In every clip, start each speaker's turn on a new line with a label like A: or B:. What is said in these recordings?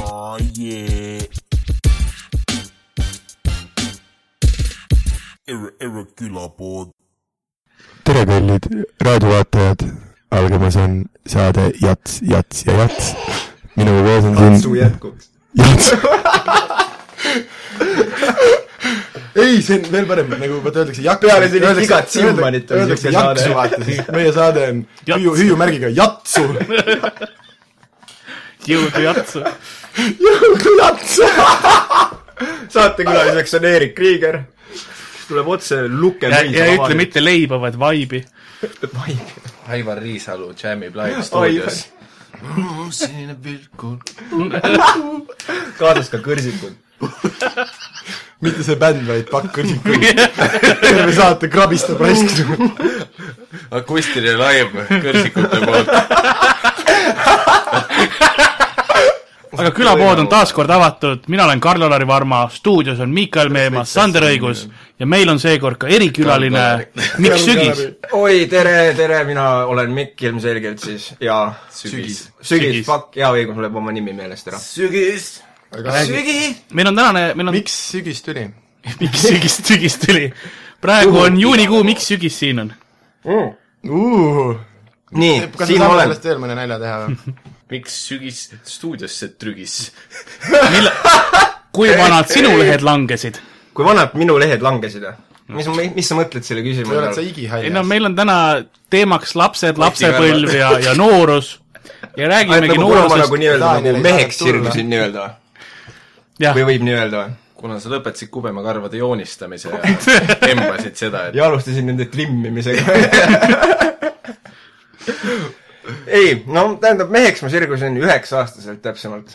A: Oh yeah. Erre, erre külapood.
B: tere , kallid raadiovaatajad , algamas on saade Jats , Jats ja Jats . minuga koos on
C: Mm.
D: katsu
B: siin
D: jätkuks .
B: Jats ,
D: ei , see on veel parem , nagu vaata öeldakse jaks .
E: Peale sellist igat Siumanit on
D: öeldakse
E: siuke saade.
D: jaksu , vaata siis meie saade on hüüu , hüüumärgiga jatsu .
C: jõudu jatsu .
D: jatsu .
E: saatekülaliseks on Erik Kriiger , tuleb otse Luke
C: ja , ja ütle . mitte leiba , vaid vaibi .
F: Aivar Riisalu džämmib live stuudios . sinine pilkun .
E: kaasas ka kõrsikud .
D: mitte see bänd , vaid pakk kõrsikul . terve saate krabistab raisk .
F: akustiline live kõrsikute poolt .
C: aga külapood on taas kord avatud , mina olen Karl-Alari Varma , stuudios on Miikael Meemas , Sander Õigus ja meil on seekord ka erikülaline Mikk Sügis .
E: oi , tere , tere , mina olen Mikk ilmselgelt siis ja
F: sügis .
E: sügis
C: Sügis. ,
E: fuck , hea õigus , mul jääb oma nimi meelest ära .
F: sügis .
E: sügi .
C: meil on tänane , meil on ,
D: miks sügis tuli ?
C: Mikk Sügis , Sügis tuli . praegu on juunikuu , Mikk Sügis siin on .
E: Mm. nii ,
D: kas me
E: siin ma
D: saame
E: olen .
D: sellest veel mõne nalja teha või ?
F: miks sügis stuudiosse trügis ?
C: kui vanad sinu lehed langesid ?
E: kui vanad minu lehed langesid või ? mis , mis sa mõtled selle küsimuse
D: oled sa
E: all ?
C: ei no
D: igihaljas ?
C: meil on täna teemaks lapsed , lapsepõlv ja , ja noorus ja räägimegi
E: nagu kuna ma nagu
C: noorusest ,
E: nii-öelda nagu
D: Daniel ei
E: meheks
D: taha tulla.
E: sirgusin nii-öelda või ?
C: jah
E: või , võib nii öelda või ?
F: kuna sa lõpetasid kubemekarvade joonistamise ja embasid seda , et
E: ja alustasin nende trimmimisega . ei , no tähendab , meheks ma sirgusin üheksa-aastaselt täpsemalt .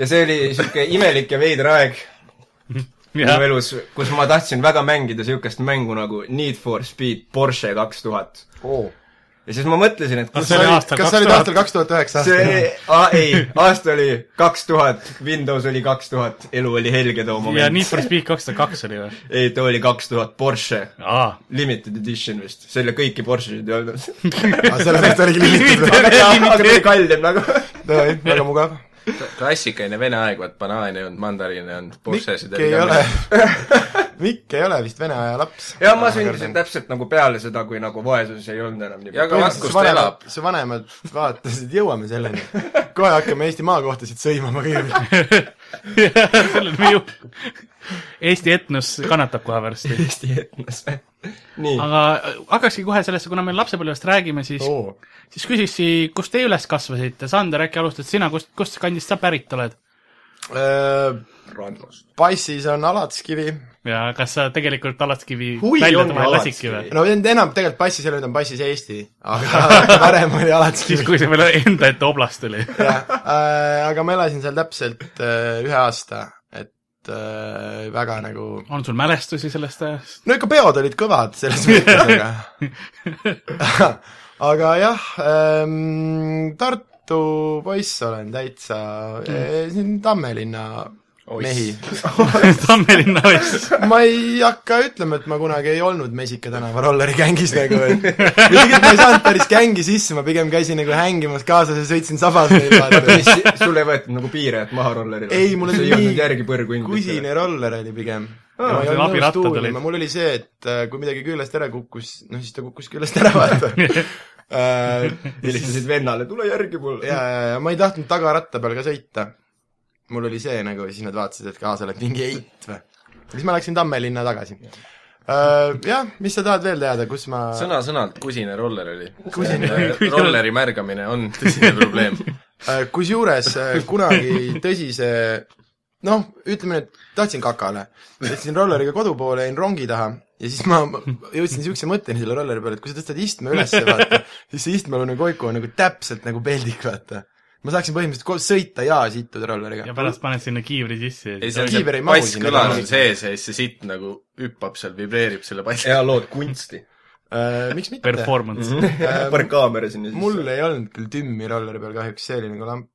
E: ja see oli sihuke imelik ja veider aeg minu
C: jah ,
E: elus , kus ma tahtsin väga mängida siukest mängu nagu Need for Speed Porsche kaks tuhat . ja siis ma mõtlesin , et kus
C: see oli
E: oli ,
C: aastal
D: kas
C: kaks
D: sa olid
C: tuhat
D: aastal . kaks tuhat üheksa
E: see oli
D: aastal ?,
E: ei , aasta oli kaks tuhat , Windows oli kaks tuhat , elu oli helge too
C: ja Need
E: moment .
C: for Speed kaks tuhat kaks oli või ?
E: ei , too oli kaks tuhat Porsche ,
C: aa
E: limited edition vist , selle kõiki Porsche'id ei olnud
D: aga sellepärast oligi limited või ?
E: aga veel kallim nagu .
D: väga mugav .
F: klassikaline vene aeg , vaat banaane ei olnud , mandariine ei olnud , Porschesid
D: Mikk ei ole , Mikk ei ole vist vene aja laps .
E: ja ma sündisin täpselt nagu peale seda , kui nagu vaesuses ei olnud enam nii
F: ja
E: palju .
F: ka vaskust elab
D: vanemad ,. noh, su vanemad vaatasid , jõuame selleni . kohe hakkame Eesti maakohtasid sõimama kõigepealt .
C: sellel me ju , Eesti etnus kannatab kohe varsti .
E: Eesti etnos . nii ,
C: aga hakkakski kohe sellesse , kuna me lapsepõlvest räägime , siis , siis küsiks , kus te üles kasvasite , Sander , äkki alustad sina , kust , kust kandist sa pärit oled?
E: Rannus .
D: Passis on Alatskivi .
C: ja kas sa tegelikult Alatskivi
E: Hui,
C: välja
E: ongi
C: vahel
E: Alatskivi.
C: lasidki või ?
D: no enam tegelikult Passis ei ole , ta on Passis Eesti , aga varem oli
C: siis ,
D: Alatskivi .
C: kui see veel enda ette oblast oli .
D: Äh, aga ma elasin seal täpselt äh, ühe aasta , et äh, väga nagu
C: on sul mälestusi sellest ajast ?
D: no ikka peod olid kõvad selles mõttes , aga aga jah ähm, , Tartu poiss olen täitsa
C: Mm.
D: eh, siin Tammelinna mehi .
C: Tammelinna vist .
D: ma ei hakka ütlema , et ma kunagi ei olnud Mesika tänava rollerigängis nagu , et tegelikult ma ei saanud päris gängi sisse , ma pigem käisin nagu hängimas kaasas ja sõitsin sabas neil vaata .
E: sul ei võetud nagu piirajat maha rollerile ?
D: ei , mul
E: see
D: oli
E: ei
D: nii
E: olnud järgi põrgu
D: kusine
E: inglisele .
D: roller oli pigem .
C: Aa,
D: ma ei
C: sul
D: olnud nõus
C: abirattad olid.
D: tuulima , mul oli see , et äh, kui midagi küljest ära kukkus , noh siis ta kukkus küljest ära , vaata . Äh, ja ,
E: helistasid vennale , tule järgi mulle .
D: ja ma ei tahtnud tagaratta peal ka sõita . mul oli see nagu , siis nad vaatasid , et kaasa oled mingi eit või . siis ma läksin Tammelinna tagasi . Jah , mis sa tahad veel teada , kus ma
F: sõna-sõnalt kusine roller oli .
D: Kusine-
F: rolleri märgamine on tõsine probleem .
D: Äh, kusjuures äh, kunagi tõsise noh , ütleme , et tahtsin kakale . sõitsin rolleriga kodu poole , jäin rongi taha ja siis ma ma jõudsin niisuguse mõtteni selle rolleri peale , et kui sa tõstad istme ülesse , vaata , siis see istmealune koiku on nagu täpselt nagu peldik , vaata . ma saaksin põhimõtteliselt koos sõita ja situda rolleriga
C: ja . pärast paned sinna kiivri sisse .
F: ei , see on
D: Kiiver
F: see
D: ei mahu
F: pass
D: sinna
F: kõlar on
D: rolleriga.
F: sees ja siis see sitt nagu hüppab seal , vibreerib selle passi .
E: ja lood kunsti .
D: Äh, miks mitte ?
C: Performance .
F: Mhm.
E: paar kaamera sinna sisse .
D: Mhm. mul ei olnud küll tümmi rolleri peal kahjuks , see oli nagu lamp .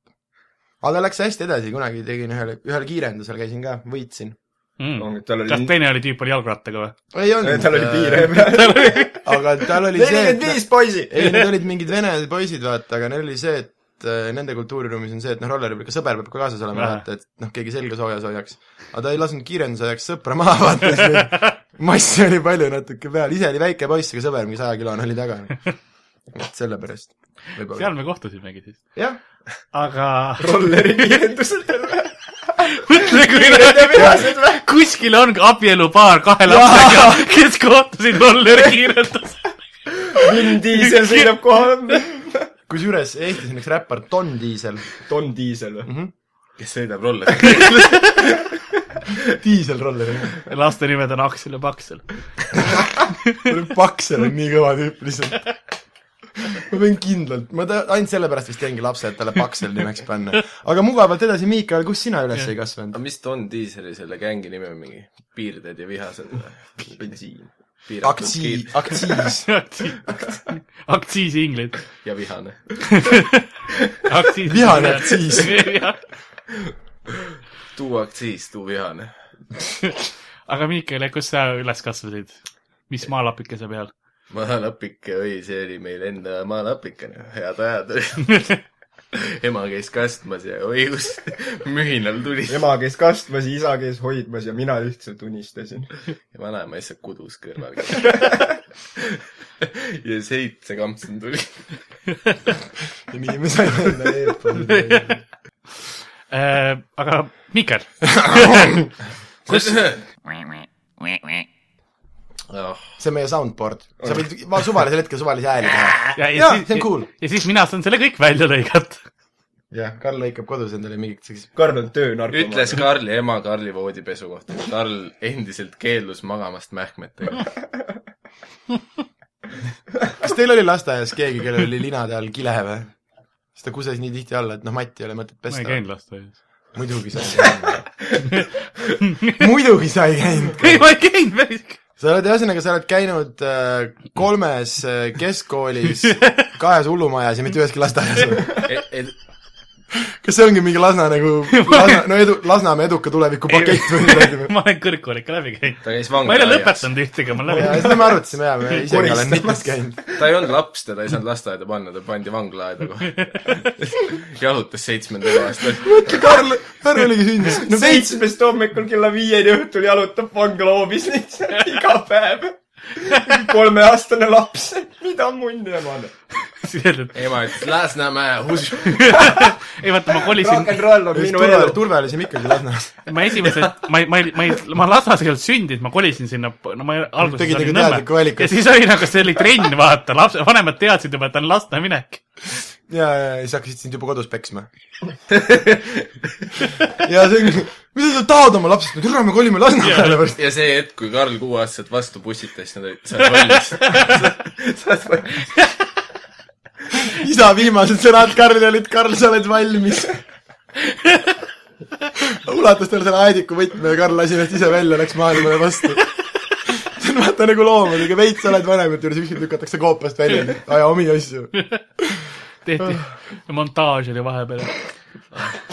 D: aga ta läks hästi edasi , kunagi tegin ühel , ühel kiirendusel käisin ka , võitsin .
E: tal oli
C: Mm. kas , teine oli tüüp oli jalgrattaga või ?
D: ei olnud .
E: tal oli piiraja peal .
D: aga tal oli see ,
E: nelikümmend viis poisi .
D: ei , need olid mingid vene poisid , vaata , aga neil oli see , et et äh, nende kultuuriruumis on see , et noh , rolleri peal ikka sõber peab ka kaasas olema ,
C: Jah.
D: vaata , et noh , keegi selga soojas hoiaks . aga ta ei lasknud kiirendusajaks sõpra maha vaata , sest massi oli palju natuke peal , ise oli väike poiss , aga sõber mingi sajakilone oli taga . et sellepärast .
C: seal me kohtusimegi siis .
D: jah ,
C: aga
G: rolleri kiirendused jälle .
C: mõtle , kui nad kuskil on abielupaar kahe lapsega , kes kohtusid rolleri kiirenduses .
G: Vin Diesel sõidab kohale .
D: kusjuures Eestis on üks räppar Don Diesel ,
G: Don Diesel
E: Mhm.
G: või ?
E: kes sõidab rolleri ?
D: diiselroller ,
C: laste nimed on Aksel ja Paksel .
D: Paksel on nii kõva tüüp lihtsalt ma võin kindlalt , ma ta- , ainult sellepärast vist teengi lapse , et talle Paksel nimeks panna . aga mugavalt edasi , Miikal , kus sina üles ei kasvanud
E: aga ? mis Don Dieseli selle gängi nimi on mingi ? piirded ja vihased või ? bensiin .
D: aktsiis , aktsiis .
C: aktsiisiinglid .
E: ja vihane .
D: Vihane aktsiis.
E: tuu aktsiis , tuu vihane .
C: aga Miikael , kus sa üles kasvasid ? mis maalapikese peal ?
E: maalapike , oi , see oli meil enda maalapikene , head ajad olid . ema käis kastmas ja oi , kus mühinal tuli .
G: ema käis kastmas , isa käis hoidmas ja mina lihtsalt unistasin .
E: ja vanaema lihtsalt kudus kõrval . ja seitse kampsun tuli .
D: ja nii me saime enda eelpool .
C: Äh, aga Miikael ,
E: kus ?
H: Wait, wait, wait, wait.
E: oh ,
D: see on meie soundboard . sa võid ma suvalisel hetkel suvalisi hääli teha .
C: ja , ja
D: Jaa,
C: siis ,
D: see on cool.
C: ja siis mina saan selle kõik välja lõigata .
D: jah , Karl lõikab kodus endale mingit sellist
G: Karl on töönarkomaan .
E: ütles Karli ema Karli voodipesu kohta . Karl endiselt keeldus magamast mähkmetega .
D: kas teil oli lasteaias keegi , kellel oli linade all kile või ? sest ta kuses nii tihti alla , et noh , Matti ei ole mõtet
C: ma ei
D: pesta .
C: käinud lasteaias .
D: muidugi sa ei käinud . muidugi sa ei käinud .
C: ei , ma ei käinud päris .
D: sa oled , ühesõnaga , sa oled käinud äh, kolmes äh, keskkoolis , kahes hullumajas ja mitte üheski lasteaias või ?
E: E,
D: kas see ongi mingi Lasna nagu , Lasna , no edu , Lasnamäe eduka tuleviku pakett või midagi või ?
C: ma olen kõrgkooli ikka läbi käinud .
E: ta käis
C: ma ei ole
E: vanglaaias .
C: lõpetanud ühtegi , ma olen
D: ja
C: läbi
D: seda me arutasime ja me ise olen
G: Koristamas.
D: mitmes käinud .
E: ta ei olnud laps , teda ei saanud lasteaeda panna , ta pandi vanglaaeda kohe . jalutas seitsmendal aastal .
D: Karl , Karl oligi sündinud no, .
G: seitsmest hommikul kella viieni õhtul jalutab vanglahoobis lihtsalt iga päev . kolmeaastane laps , mida munni ema on .
C: käinud .
E: ema ütles Lasnamäe , us- .
C: ei vaata , ma kolisin
G: rock , n roll on minu
D: Turve ,
G: elu .
D: Turve oli siin ikkagi Lasnas .
C: ma esimesed , ma ei , ma ei , ma ei , ma Lasnas ei olnud sündinud , ma kolisin sinna , no ma ei- alguses
D: Tegid
C: olin
D: nagu teadliku
C: Nõmme
D: valiku.
C: ja siis oli nagu , see oli trenn , vaata , laps , vanemad teadsid juba , et on Lasna minek .
D: ja , ja , ja siis hakkasid sind juba kodus peksma . ja see ongi , mida sa tahad oma lapsest , no türa , me kolime Lasnamäele pärast .
E: ja see hetk , kui Karl kuueaastaselt vastu pussitas , siis nad olid , sa oled valmis .
D: isa viimased sõnad Karlile olid , Karl , sa oled valmis . ulatas talle selle aediku võtme ja Karl lasi ennast ise välja , läks maailmale vastu . see on vaata nagu loomadega , veits oled vanemate juures , ükskord lükatakse koopast välja , aja omi asju .
C: tehti montaaž oli vahepeal .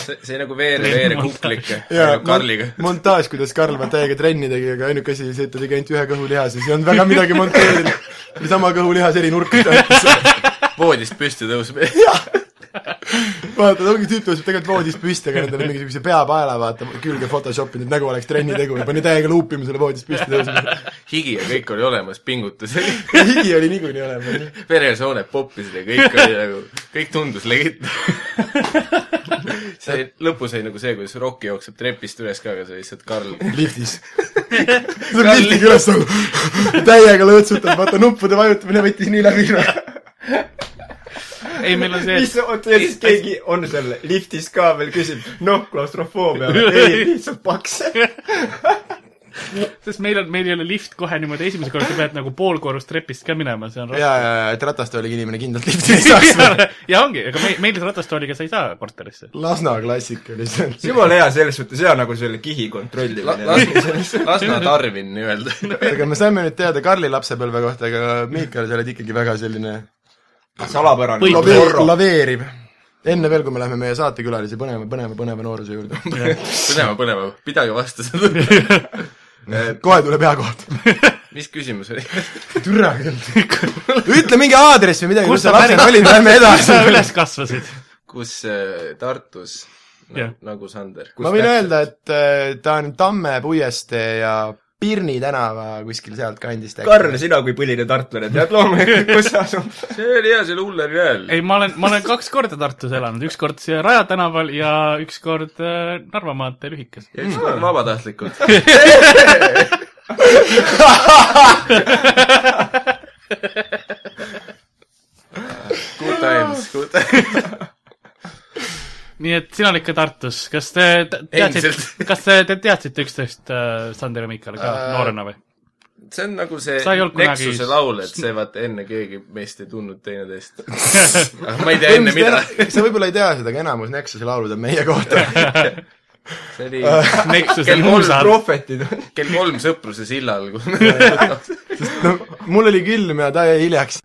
E: see , see nagu veere-veere kuklike
D: ja
E: ainult Äh, nagu Karliga .
D: montaaž , kuidas Karl ma täiega trenni tegi , aga ainuke asi oli see , et ta tegi ainult ühe kõhulihase , siis ei olnud väga midagi monteerida . oli sama kõhulihas eri nurkades .
E: voodist püsti tõuseb .
D: vaata , ongi tüüp tõuseb tegelikult voodis püsti , aga endale mingisuguse peapaela vaata külge Photoshopi , et nägu oleks trenni tegu ja pani täiega luupima selle voodis püsti tõusma .
E: higi ja kõik oli olemas , pingutus oli ,
D: higi oli niikuinii olemas .
E: veresooned poppisid ja kõik oli nagu , kõik tundus legit . see lõpus oli nagu see , kuidas Rocki jookseb trepist üles ka , aga see oli lihtsalt Karl .
D: liftis . see on liftiga üles olnud . täiega lõõtsutab , vaata nuppude vajutamine võttis nii läbi . noh.
C: ei , meil on see ,
G: mis , oota ja siis keegi on seal liftis ka veel küsib , noh , klaustrofoobia , ei , lihtsalt paks .
C: sest meil on , meil ei ole lift kohe niimoodi esimese korra , sa pead nagu pool korrust trepist ka minema , see on
D: ja , ja , ja , et ratastooliga inimene kindlalt lifti ei saaks .
C: raske . ja ongi , ega meil , meil ratastooliga sa ei saa korterisse .
D: Lasna klassika lihtsalt .
G: jumala hea selles suhtes , hea nagu selle kihi
E: nagu
G: kontrollimine .
E: Lasna Tarvin nii-öelda .
D: aga me saime nüüd teada Karli lapsepõlve kohta , aga Miikal , sa oled ikkagi väga selline
G: salapärane
C: Põid-
G: horror.
D: laveeriv , laveeriv . enne veel , kui me läheme meie saatekülalise põneva , põneva , põneva nooruse juurde .
E: põneva , põneva , pidage vastu seda .
D: Eh, kohe tuleb hea koht .
E: mis küsimus oli ?
D: türa küll . ütle mingi aadress või midagi ,
C: Kus
D: kus sa
C: sa
D: lapsena
C: pärit-
D: olid ,
C: sa
D: lähme edasi .
C: üles kasvasid .
E: kus äh, Tartus
C: Jah.
E: yeah. , nagu Sander .
D: ma võin öelda , et äh, ta on Tamme puiestee ja Pirni tänava kuskil sealtkandist .
G: Karl , sina kui põline tartlane tead loomulikult , kus sa asud .
E: see oli hea , see Luller jääl .
C: ei , ma olen , ma olen kaks korda Tartus elanud , üks kord siia Raja tänaval ja üks kord äh, Narva maantee lühikes .
E: ja üks kord vabatahtlikult . Good times , good times .
C: nii et sina oled ikka Tartus , kas te te- teadsite ,
E: Endiselt.
C: kas te, te teadsite üksteist äh, Sander ja Miikal ka
E: Äh,
C: noorena või ?
E: see on nagu see
C: Sa ei olnud kunagi-
E: Nexuse laul , et see vaata enne keegi meist ei tundnud teineteist . aga ma ei tea enne mida .
D: sa võib-olla ei tea seda , aga enamus Nexuse laulud on meie kohta .
E: see oli
C: Nexus ja
E: kell kolm
C: Muusal .
G: prohvetid .
E: kell kolm Sõpruse sillal , kui me
D: no mul oli külm ja ta jäi hiljaks .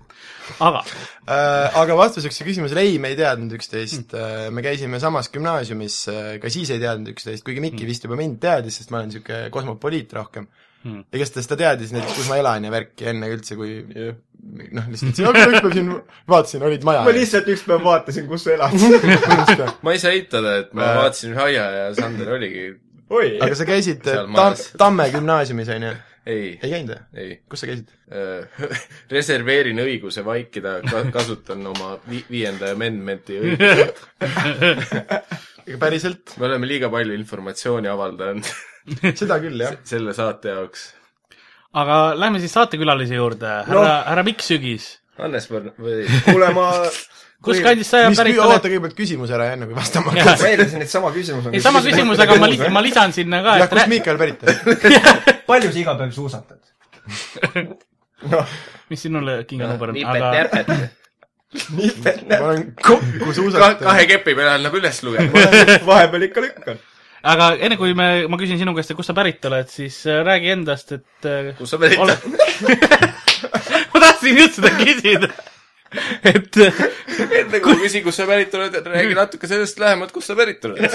C: aga
D: Äh, aga vastuseks su küsimusele , ei , me ei teadnud üksteist , me käisime samas gümnaasiumis , ka siis ei teadnud üksteist , kuigi Mikki vist juba mind teadis , sest ma olen niisugune kosmopoliit rohkem
C: Hmm.
D: mm. . igastahes ta teadis näiteks , kus ma elan ja värki enne üldse , kui noh , lihtsalt ütlesin , aga ükspäev siin vaatasin , olid maja
G: ma lihtsalt ükspäev vaatasin , kus sa elad .
D: lihtsalt
E: ma ei saa eitada , et
G: Äh.
E: ma vaatasin Raia ja Sander oligi ,
G: oi ,
D: aga sa käisid eh,
E: Seal
D: Tam-
E: majas. ,
D: Tamme gümnaasiumis , on ju ?
E: ei ,
D: ei käinud või ?
E: ei .
D: kus sa käisid ?
E: reserveerin õiguse vaikida , kasutan oma vi- viienda amendmenti õigust .
D: ega päriselt ,
E: me oleme liiga palju informatsiooni avaldanud
D: seda küll , jah .
E: selle saate jaoks .
C: aga lähme siis saatekülalise juurde , härra , härra Mikk Sügis .
E: Hannes Võrn- või
G: kuule ma ,
C: kus
G: Kui-
C: kandis sa
D: mis ,
C: pärit
D: oota
C: oled ?
D: kõigepealt küsimuse ära , enne kui vastama
C: Jah.
D: hakkad .
G: ma eeldasin , et sama küsimus on .
C: ei , sama küsimus , aga ma li- , ma lisan sinna ka ,
D: jah ,
C: et
D: kust
C: rää-
D: Miikal pärit on ?
G: palju sa iga päev suusatad ?
C: mis sinule kinganumber on ,
E: nipet
C: aga
E: närpet .
D: ma olen kokku suusatanud .
E: kahe kepi peale annab üles lugeda .
G: vahepeal ikka lükkan .
C: aga enne kui me , ma küsin sinu käest , et kust sa pärit oled , siis äh, räägi endast , et äh,
E: kus sa pärit
C: ole
E: oled ?,
C: ma tahtsin just seda küsida , et äh,
E: enne kui ma küsin , kus sa pärit oled , räägi natuke sellest lähemalt , kust sa pärit oled .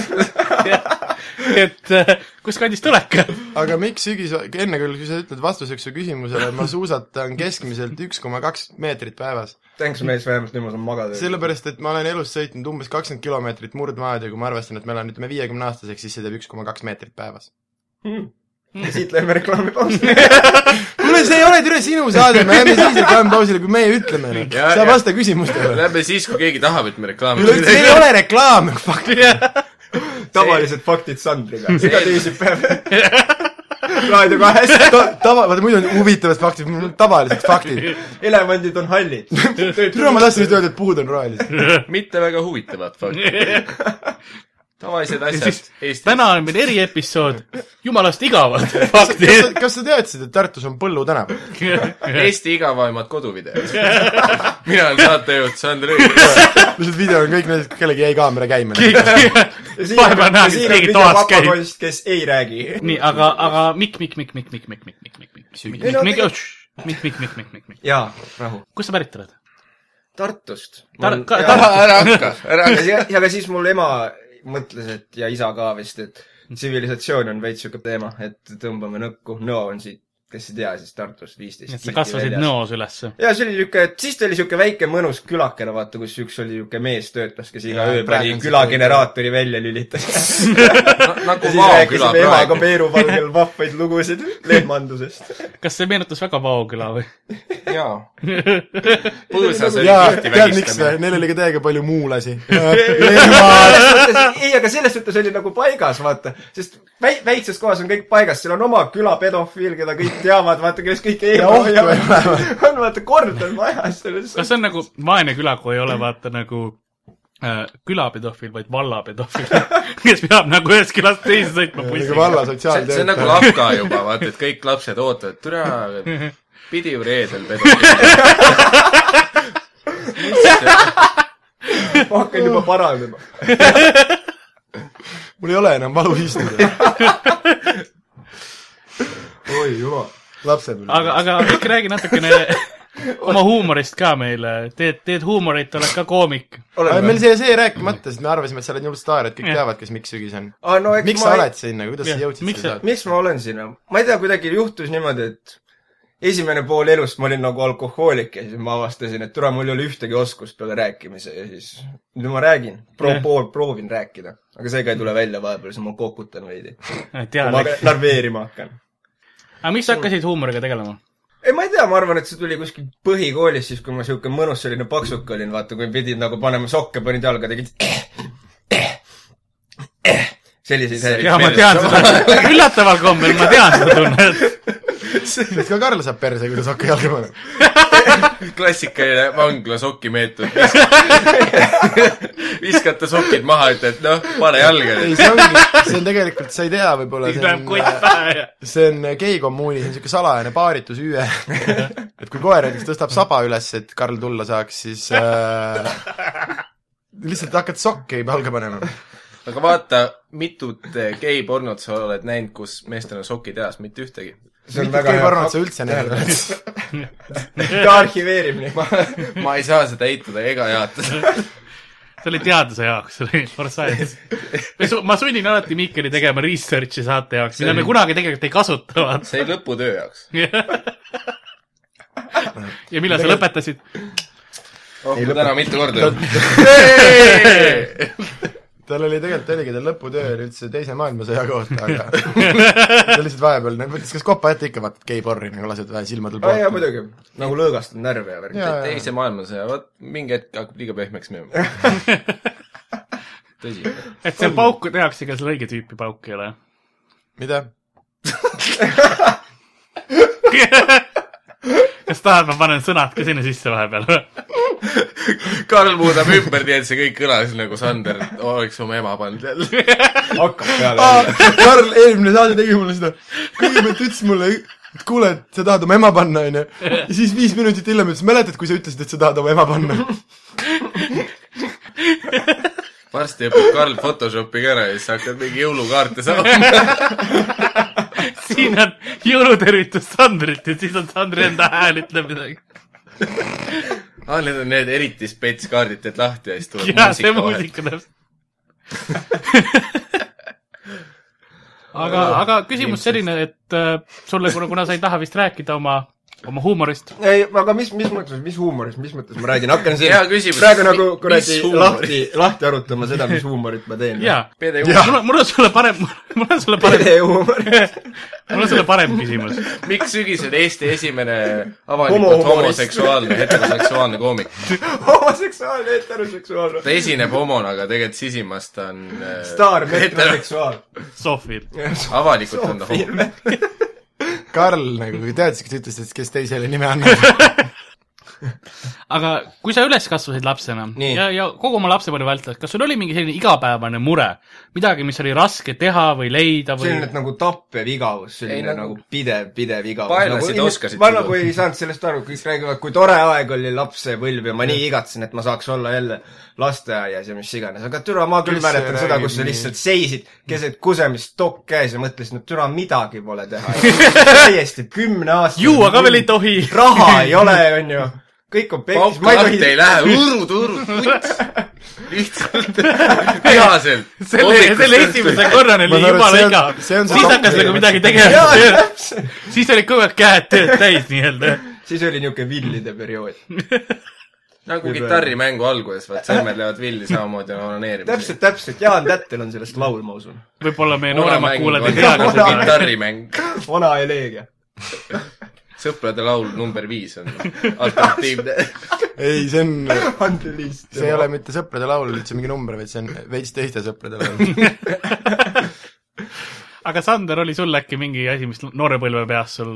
C: et äh, kust kandist oled ka ?
D: aga miks sügis , enne küll , kui sa ütled vastuseks su küsimusele , ma suusatan keskmiselt üks koma kaks meetrit päevas .
G: tänks mees , vähemalt nüüd ma saan magada .
D: sellepärast , et ma olen elus sõitnud umbes kakskümmend kilomeetrit murdmaad ja kui ma arvestan , et ma elan , ütleme , viiekümne aastaseks , siis see teeb üks koma kaks meetrit päevas .
G: siit lähme reklaamipausi .
D: kuule , see ei ole türa sinu saade , me lähme siis reklaamipausile , kui meie ütleme .
E: Ja-
D: sa
E: ja-
D: vasta küsimustele .
E: Lähme siis , kui keegi tahab , et me reklaami
D: üleüldse , see ei ole reklaam , fuck .
G: tavalised faktid Sandriga , iga teisipäev Raadio kahes .
D: tava , vaata muidu on huvitavad faktid , tavalised faktid .
G: elevandid on hallid .
D: türa , ma tahtsin just öelda , et puud on rohelised .
E: mitte väga huvitavad faktid . tavalised asjad Eestis .
C: täna on meil eriepisood , jumalast igavad faktid .
D: kas sa teadsid , et Tartus on Põllu tänav ?
E: Eesti igavaimad koduvideod . mina olen saatejuht Sander Õigus .
D: lihtsalt video on kõik need , kellegi jäi kaamera käima . noh.
C: vahepeal näha , kes keegi toas käib .
G: kes ei räägi .
C: nii , aga , aga Mikk , Mikk , Mikk , Mikk , Mikk , Mikk , Mikk , Mikk , Mikk , Mikk , Mikk , Mikk , Mikk , Mikk , Mikk , Mikk , Mikk , Mikk , Mikk ,
G: jaa , rahu .
C: kust sa pärit oled ?
G: Tartust .
C: Tar- ,
G: jaa.
C: Tar- ,
E: ära hakka , ära hakka .
G: ja , ja ka siis mul ema mõtles , et ja isa ka vist , et tsivilisatsioon on veits siuke teema , et tõmbame nõkku , Nõo on siit , kes ei tea , siis Tartust viisteist .
C: nii et sa kasvasid . Nõos ülesse .
G: ja see oli niuke , siis ta oli siuke väike mõnus külakene , vaata , kus üks oli niuke mees töötas , kes iga
D: Jaa,
G: öö
D: praegu
G: pani
D: on see
G: külageneraatori välja lülitas . ja
E: nagu
G: siis
E: Vao küla
G: rääkisime emaga
E: praegu .
G: Peeru valgel vahvaid lugusid lehmandusest .
C: kas see meenutas väga Vao küla või ?
E: jaa . põõsas oli
D: jaa ,
E: kihti
D: tead miks või
E: vägistamine .,
D: neil oli ka täiega palju muulasi .
G: ei , aga selles suhtes oli nagu paigas , vaata , sest väi- , väikses kohas on kõik paigas , seal on oma küla pedofiil , keda kõik teavad , vaata , kes kõik
D: ohtu
G: eemal
D: ei ole,
G: on vaata , kord on majas selles .
C: kas see on nagu vaene küla , kui ei ole vaata nagu äh, külapedofiil , vaid vallapedofiil , kes peab nagu ühest külast teise sõitma
D: nagu
C: bussiga .
D: valla
E: see see on nagu
D: sotsiaaltöötaja .
E: Lafka juba , vaata , et kõik lapsed ootavad , türa , pidi ju reedel pedofiil .
G: ma hakkan juba parandama .
D: mul ei ole enam valu istuda .
G: oi jumal .
D: lapsepõlve .
C: aga , aga äkki räägi natukene oma huumorist ka meile , teed , teed huumorit , oled ka koomik .
D: meil see , see rääkimata , sest me arvasime , et sa oled nii hull staar , et kõik
C: Jah.
D: teavad , kes Mikk Sügis on .
G: aa , no eks
D: miks
G: ma
D: sa oled sinna , kuidas sa
C: Jah,
D: jõudsid
C: miks
D: seda
C: sa-
D: saada ?
G: miks ma olen siin , ma ei tea , kuidagi juhtus niimoodi , et esimene pool elust ma olin nagu alkohoolik ja siis ma avastasin , et türa , mul ei ole ühtegi oskust peale rääkimise ja siis nüüd ma räägin , pro- , pool , proovin rääkida . aga see ka ei tule välja vahepeal , siis ma kokutan veidi . ma
C: teadlik .
G: hakkan- narveerima hakkan .
C: aga miks sa hakkasid huumoriga tegelema ?
G: ei , ma ei tea , ma arvan , et see tuli kuskil põhikoolis , siis kui ma siuke mõnus selline paksuk olin , vaata , kui pidid nagu panema sokke , panid jalga , tegid selliseid
C: jaa ,
G: häireid .
C: ma tean seda . üllataval kombel ma tean seda tunnet .
D: et ka Karl saab perse , kui ta sokke jalga paneb .
E: klassikaline vangla sokimeetod . viskate sokid maha , ütled , noh , pane jalga
D: ei ,
E: nüüd .
D: see ongi , see on tegelikult , sa ei tea võib-olla ,
C: siis
D: see
C: läheb kott
D: on ,
C: pähe ja .
D: see on äh, geikommuuni , see on niisugune salajane paaritusüüe . et kui koer näiteks tõstab saba üles , et Karl tulla saaks , siis äh, lihtsalt hakkad sokke jalga panema .
E: aga vaata , mitut eh, geipornot sa oled näinud , kus meestel on sokid jalas , mitte ühtegi .
G: see on
D: mitut
G: väga
D: geipornot sa
G: hea .
D: üldse näinud oled ?
G: ta arhiveerib neid .
E: ma ei saa seda eitada ega jaotada .
C: see oli teaduse jaoks , see oli for science . ma sunnin alati Mikkeli tegema research'i saate jaoks , mida me kunagi tegelikult ei kasuta , vaata .
E: see oli lõputöö jaoks .
C: ja millal sa lõpetasid ?
E: rohkem täna mitu korda .
D: tal oli tegelikult , oligi tal lõputöö oli üldse Teise maailmasõja kohta , aga ta lihtsalt vahepeal nagu mõtles , kas kopa ette ikka vaatad geiporri nagu lased vähe silmadel
G: aa jaa ,. muidugi . nagu lõõgastab närve ja värk .
D: Jaa, jaa.
E: teise maailmasõja , vot mingi hetk hakkab liiga pehmeks minema . tõsi .
C: et see pauk tehakse , ega seal õige tüüpi pauk ei ole .
D: mida ?
C: kas tahad , ma panen sõnad ka sinna sisse vahepeal ?
E: Karl muudab ümber , nii et see kõik kõlas nagu Sander oleks oma ema pannud jälle .
G: hakkab peale .
D: Karl eelmine saade tegi mulle seda , kõigepealt ütles mulle , et kuule , et sa tahad oma ema panna , onju . ja siis viis minutit hiljem ütles , mäletad , kui sa ütlesid , et sa tahad oma ema panna ?
E: varsti õpib Karl Photoshopi ka ära ja siis sa hakkad mingi jõulukaarte saama .
C: siin on jõulutervitus Sandrit ja siis on Sandri enda hääl ütleb midagi .
E: aa , need on need eriti spets kaardid , teed lahti ja siis tuleb
C: jaa , see
E: muusika vahele .
C: muusika täpselt aga , aga küsimus selline , et äh, sulle , kuna , kuna sa ei taha vist rääkida oma , oma huumorist ,
G: ei , aga mis , mis mõttes , mis huumoris , mis mõttes ma räägin , hakkan siin
E: Hea küsimus.
G: praegu nagu
E: Mi-
G: kuradi
E: mis huumoris?
G: lahti , lahti arutama seda , mis huumorit ma teen .
C: jaa .
E: Pede Juh- ,
C: mul on , mul on sulle parem , mul on sulle parem ,
G: huumorit .
C: mul on sulle parem küsimus .
E: miks sügisel Eesti esimene
G: Homo-
E: avalikult
G: humorist.
E: homoseksuaalne , heteroseksuaalne koomik ?
G: homoseksuaalne , heteroseksuaalne .
E: ta esineb homona , aga tegelikult sisimas ta on äh,
G: staar , heteroseksuaal .
C: Sofil .
E: avalikult on ta homo .
D: Karl nagu kui teadis , kes ütles , et kes teisele nime annab .
C: aga kui sa üles kasvasid lapsena
G: Nii.
C: ja , ja kogu oma lapsepõlve vältel , kas sul oli mingi selline igapäevane mure , midagi , mis oli raske teha või leida või
G: selline ? nagu tappev igavus , selline
E: Ei,
G: ei,
E: nagu-
G: nagu pidev , pidev igavus .
E: Paelasid
G: nagu,
E: oskasid
G: ma
E: tuua.
G: nagu ei saanud sellest aru , kõik räägivad , kui tore aeg oli lapsepõlv ja ma nii igatsen , et ma saaks olla jälle lasteaias ja mis iganes , aga türa , ma küll
D: Kes see
G: mäletan seda ,
D: räägib
G: kus sa
D: nii?
G: lihtsalt seisid keset kusemist , tokk käes ja mõtlesid , no türa , midagi pole teha . täiesti kümne aasta .
C: juua ka veel ei tohi .
G: raha ei ole , onju . kõik on pekkis , ma ei
E: paukkaart ei
G: tohi ,
E: lähe , urud , urud , kuts . lihtsalt vihaselt .
C: selle , selle esimese korrani
D: Ma
C: oli
D: saan aru,
C: jumala
D: et see on-
C: igav .
D: see on see
C: siis
D: koht-
C: hakkas nagu midagi
G: Jaa,
C: tegema . siis olid kogu aeg käed tööd täis nii-öelda .
G: siis oli niuke villide periood .
E: nagu kitarrimängu alguses , vaat sõrmed lähevad villi samamoodi nagu onaneerimisel .
G: täpselt , täpselt , Jaan Tättel on sellest laul , ma usun .
C: võib-olla meie nooremad kuulajad ei tea , kas
E: teavad .
C: seda
E: kitarrimäng ,
G: vana Elegia .
E: sõprade laul number viis on alternatiivne .
D: ei , see on ,
G: Unreleased .
D: see ei ole mitte sõprade laul üldse mingi number , vaid see on veits teiste sõprade laul .
C: aga Sander , oli sul äkki mingi asi , mis noorepõlve peas sul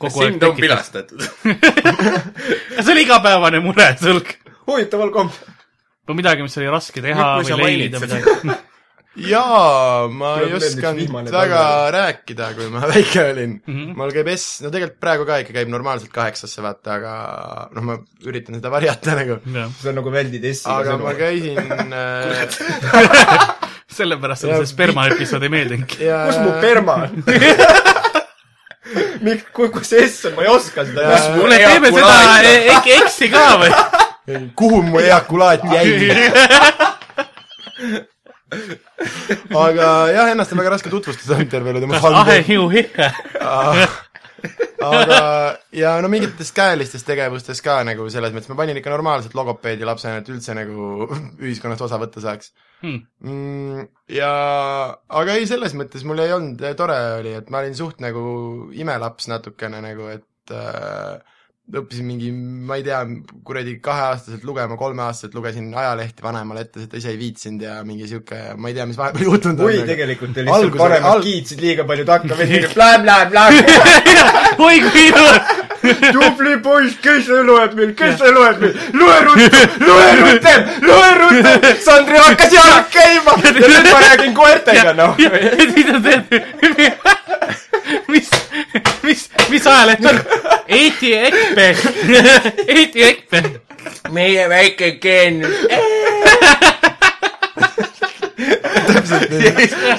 C: kogu aeg
E: sind on
C: tekitas ?
E: pilastatud .
C: kas see oli igapäevane mure sul ?
G: huvitaval kombel .
C: või midagi , mis oli raske teha
E: Nüüd, kui sa
C: või leida
E: mainid
C: midagi ?
D: jaa , ma ei
G: Tuleb veel üks
D: osanud
G: vihmane
D: väga
G: talv.
D: rääkida , kui ma väike olin mm .
C: Mhm.
D: -hmm. mul käib S , no tegelikult praegu ka ikka käib normaalselt kaheksasse , vaata , aga noh , ma üritan seda varjata nagu .
G: sa nagu väldid S-i .
D: aga ma käisin äh,
C: sellepärast sulle see sperma episood ei meeldinudki .
D: ja...
G: kus mu perma on ? miks , kus see S on , ma ei oska seda
D: Kus
G: teha .
C: kuule , teeme seda e- e- eksi ka või ?
D: kuhu mu eakulaat jäi , aga jah , ennast on väga raske tutvustada intervjuude , ma
C: kas ahehiu hihe ?
D: aga aga , ja no mingites käelistes tegevustes ka nagu selles mõttes , ma panin ikka normaalselt logopeedi lapsena , et üldse nagu ühiskonnast osa võtta saaks
C: Hmm.
D: mm, . ja , aga ei , selles mõttes mul ei olnud , tore oli , et ma olin suht nagu imelaps natukene nagu , et äh, õppisin mingi , ma ei tea , kuradi kaheaastaselt lugema , kolmeaastaselt lugesin ajalehti vanemale ette , seda ise ei viitsinud ja mingi sihuke , ma ei tea , mis vahepeal juhtunud
G: oi ,
D: on .
G: tegelikult te
D: Algus
G: lihtsalt
D: oli-
G: paremad
D: al-
G: al... kiitsid liiga palju takka , veidi blä-blä-blä ,
C: oi kui ilus .
G: tubli poiss , kes see loeb meil , kes see loeb meil , loe rutem , loe rutem , loe rutem , Sandri hakkas jalad käima ja nüüd ma räägin koertega , noh .
C: mida sa teed ? mis , mis , mis ajaleht on ? Eesti Ekspress , Eesti Ekspress .
G: meie väike geenius .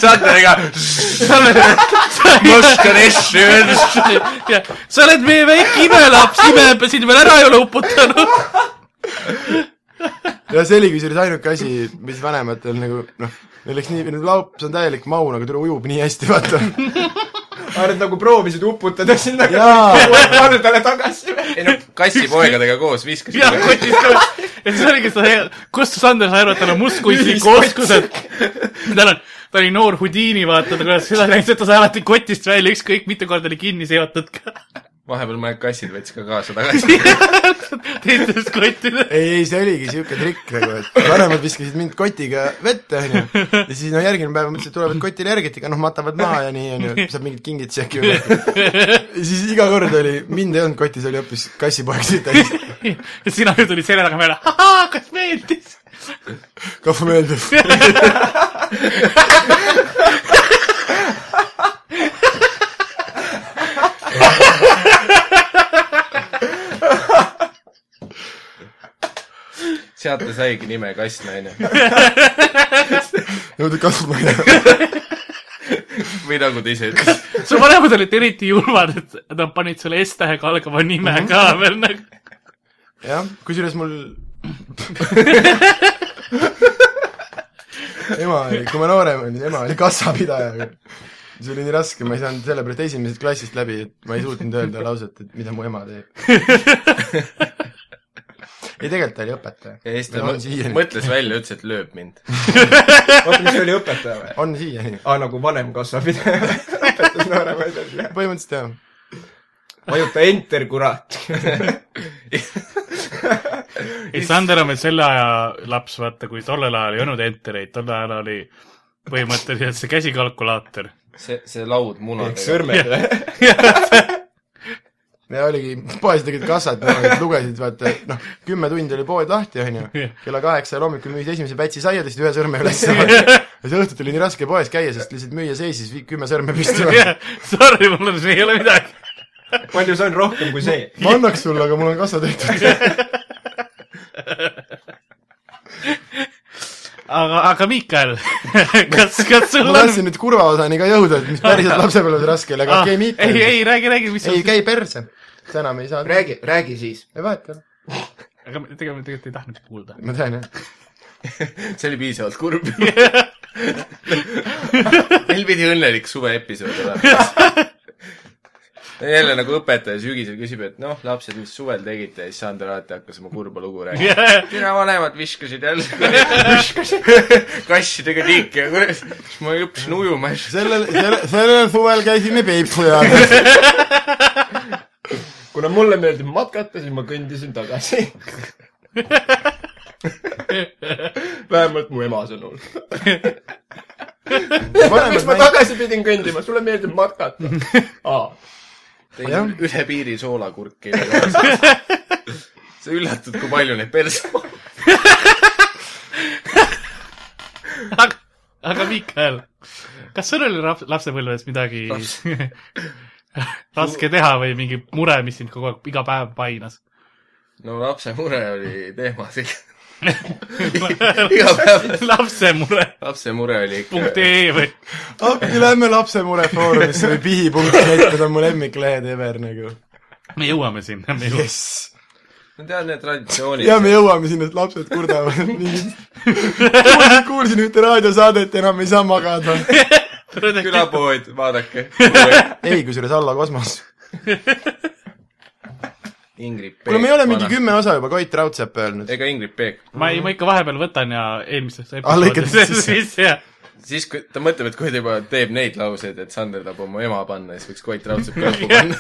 E: Sanderiga oskan asju öelda .
C: sa oled meie väike imelaps , ime sind veel ära ei ole uputanud .
D: ja see oli kusjuures ainuke asi , mis vanematel nagu noh , neil läks nii , laps on täielik maun , aga tule ujub nii hästi , vaata .
G: aga nad nagu proovisid uputada nagu sinna
D: jaa ,
G: kaldale tagasi .
E: ei noh , kassipoegadega koos viskasid .
C: ja kotis koos . ja siis oligi see , kust Sander sai aru , et tal on mustkunstniku
G: Ühiskott.
C: oskused . tal on , ta oli noor Houdini , vaata , ta kuidas seda käis , et ta sai alati kotist välja , ükskõik mitu korda oli kinni seotud ka .
E: vahepeal mõned kassid võttis ka kaasa tagasi .
C: teistes kottides .
D: ei , ei see oligi siuke trikk nagu , et vanemad viskasid mind kotiga vette , onju . ja siis no järgmine päev mõtlesin , et tulevad kotile järgitega , noh matavad maha ja nii onju , saab mingid kingid tšeki üle . siis iga kord oli , mind ei olnud kotis , oli hoopis kassipoeg siit täis .
C: ja sina ju tulid selja taga meelde , ahaa , kas meeldis ?
D: kahva meeldib .
E: sealt ta saigi nime Kassnaine .
D: niimoodi kasvab meile .
E: või nagu ta ise ütles .
C: su vanemad olid eriti julmad , et nad panid sulle S-tähega algava nime ka veel nagu .
D: jah , kusjuures mul ema oli , kui ma noorem olin , ema oli kassapidaja . see oli nii raske , ma ei saanud sellepärast esimesest klassist läbi , et ma ei suutnud öelda lauset , et mida mu ema teeb . ei , tegelikult ta oli õpetaja .
E: ja siis ta
D: Meil on siiani.
E: mõtles välja , ütles , et lööb mind .
G: oota , mis see oli , õpetaja või ?
D: on siiani ,
G: aa , nagu vanem kassapidaja õpetas nooremaid asju .
D: põhimõtteliselt jah .
G: vajuta enter , kurat .
C: ei , Sander on veel selle aja laps , vaata , kui tollel ajal ei olnud entereid , tol ajal oli põhimõtteliselt see käsikalkulaator .
E: see , see laud
G: eks
E: munadega .
G: sõrmed või ?
D: ja oligi , poes tegid kassat , lugesid , vaata , noh , kümme tundi oli pood lahti , onju
C: Jah. .
D: kella kaheksa ajal hommikul müüsid esimese pätsi saia , tõstsid ühe sõrme ülesse . ja siis õhtuti oli nii raske poes käia , sest lihtsalt müüja seisis vi- kümme sõrme püsti .
C: Sorry , mul on , ei ole midagi .
G: palju see on rohkem kui see ?
D: ma annaks sulle , aga mul on kassa tehtud .
C: aga , aga Miikael , kas , kas sul
D: ma
C: on ?
D: tahtsin nüüd kurva osani ka jõuda , et mis päriselt lapsepõlves raske oli , aga okei , Miikal .
C: Ah, ei , ei räägi , räägi , mis
D: ei
C: sul ,
D: käi perse . see enam ei saa .
G: räägi , räägi siis .
D: ei vaata ,
C: aga me- tegelikult , me tegelikult ei tahtnud kuulda .
D: ma tean jah .
E: see oli piisavalt kurb . meil pidi õnnelik suveepisood olema . jälle nagu õpetaja sügisel küsib , et noh , lapsed , mis suvel tegite ja siis Sander alati hakkas oma kurba lugu rääkima . sina vanemad viskasid jälle kassidega liiki ja kurat , siis ma hüppasin ujuma ja siis
D: sellel , sellel , sellel suvel käisime Peipsu jaamas .
G: kuna mulle meeldib matkata , siis ma kõndisin tagasi . vähemalt mu ema sõnul . miks ma tagasi pidin kõndima , sulle meeldib matkata . aa ,
E: tegin
D: Jah.
E: üle piiri soolakurki . sa üllatud , kui palju neid perse on .
C: aga , aga Miikael , kas sul oli laps- , lapsepõlves midagi raske teha või mingi mure , mis sind kogu aeg , iga päev painas ?
E: no lapse mure oli teema siin . iga päev
C: lapsemure
E: lapse mure oli
C: punkt E.
E: ikka ,
C: ee või ?
D: appi lähme lapsemure foorumisse või pihi.net , need on mu lemmiklehed ever nagu .
C: me jõuame sinna , me jõuame .
D: jess .
E: no tead need traditsioonid
D: ja . me jõuame sinna , et lapsed kurdavad mingit . kuulsin ühte raadiosaadet , enam ei saa magada .
E: külapood , vaadake .
D: ei , kusjuures Allo Kosmos .
E: Ingrid Peek .
D: kuule , me ei ole mingi . kümme osa juba Koit Raudsepp öelnud .
E: ega Ingrid Peek .
C: ma ei , ma ikka vahepeal võtan ja eelmistes
D: lõikad Ah, sisse.
C: sisse ja
E: siis , kui ta mõtleb , et kui ta juba teeb neid lauseid , et Sander tahab oma ema panna , siis võiks Koit Raudsepp ka õhku panna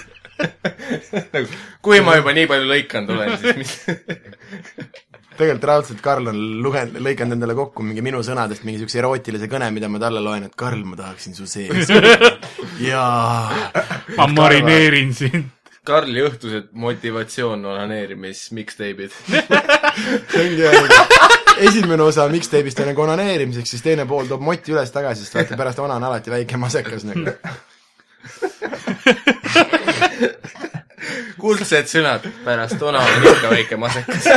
E: nagu, . kui ma juba nii palju lõikanud olen , siis mis
D: tegelikult raudselt Karl on lugenud , lõiganud endale kokku mingi minu sõnadest mingi siukse erootilise kõne , mida ma talle loen , et Karl , ma tahaksin su sees . jaa .
C: ma marineerin sind .
E: Karli õhtused motivatsioon onaneerimis mixtape'id .
D: see ongi ainult- esimene osa mixtape'ist on nagu onaneerimiseks , siis teine pool toob moti üles tagasi , sest vaata pärast ona on alati väike masekas nagu .
E: kuldsed sõnad pärast ona on ikka väike masekas .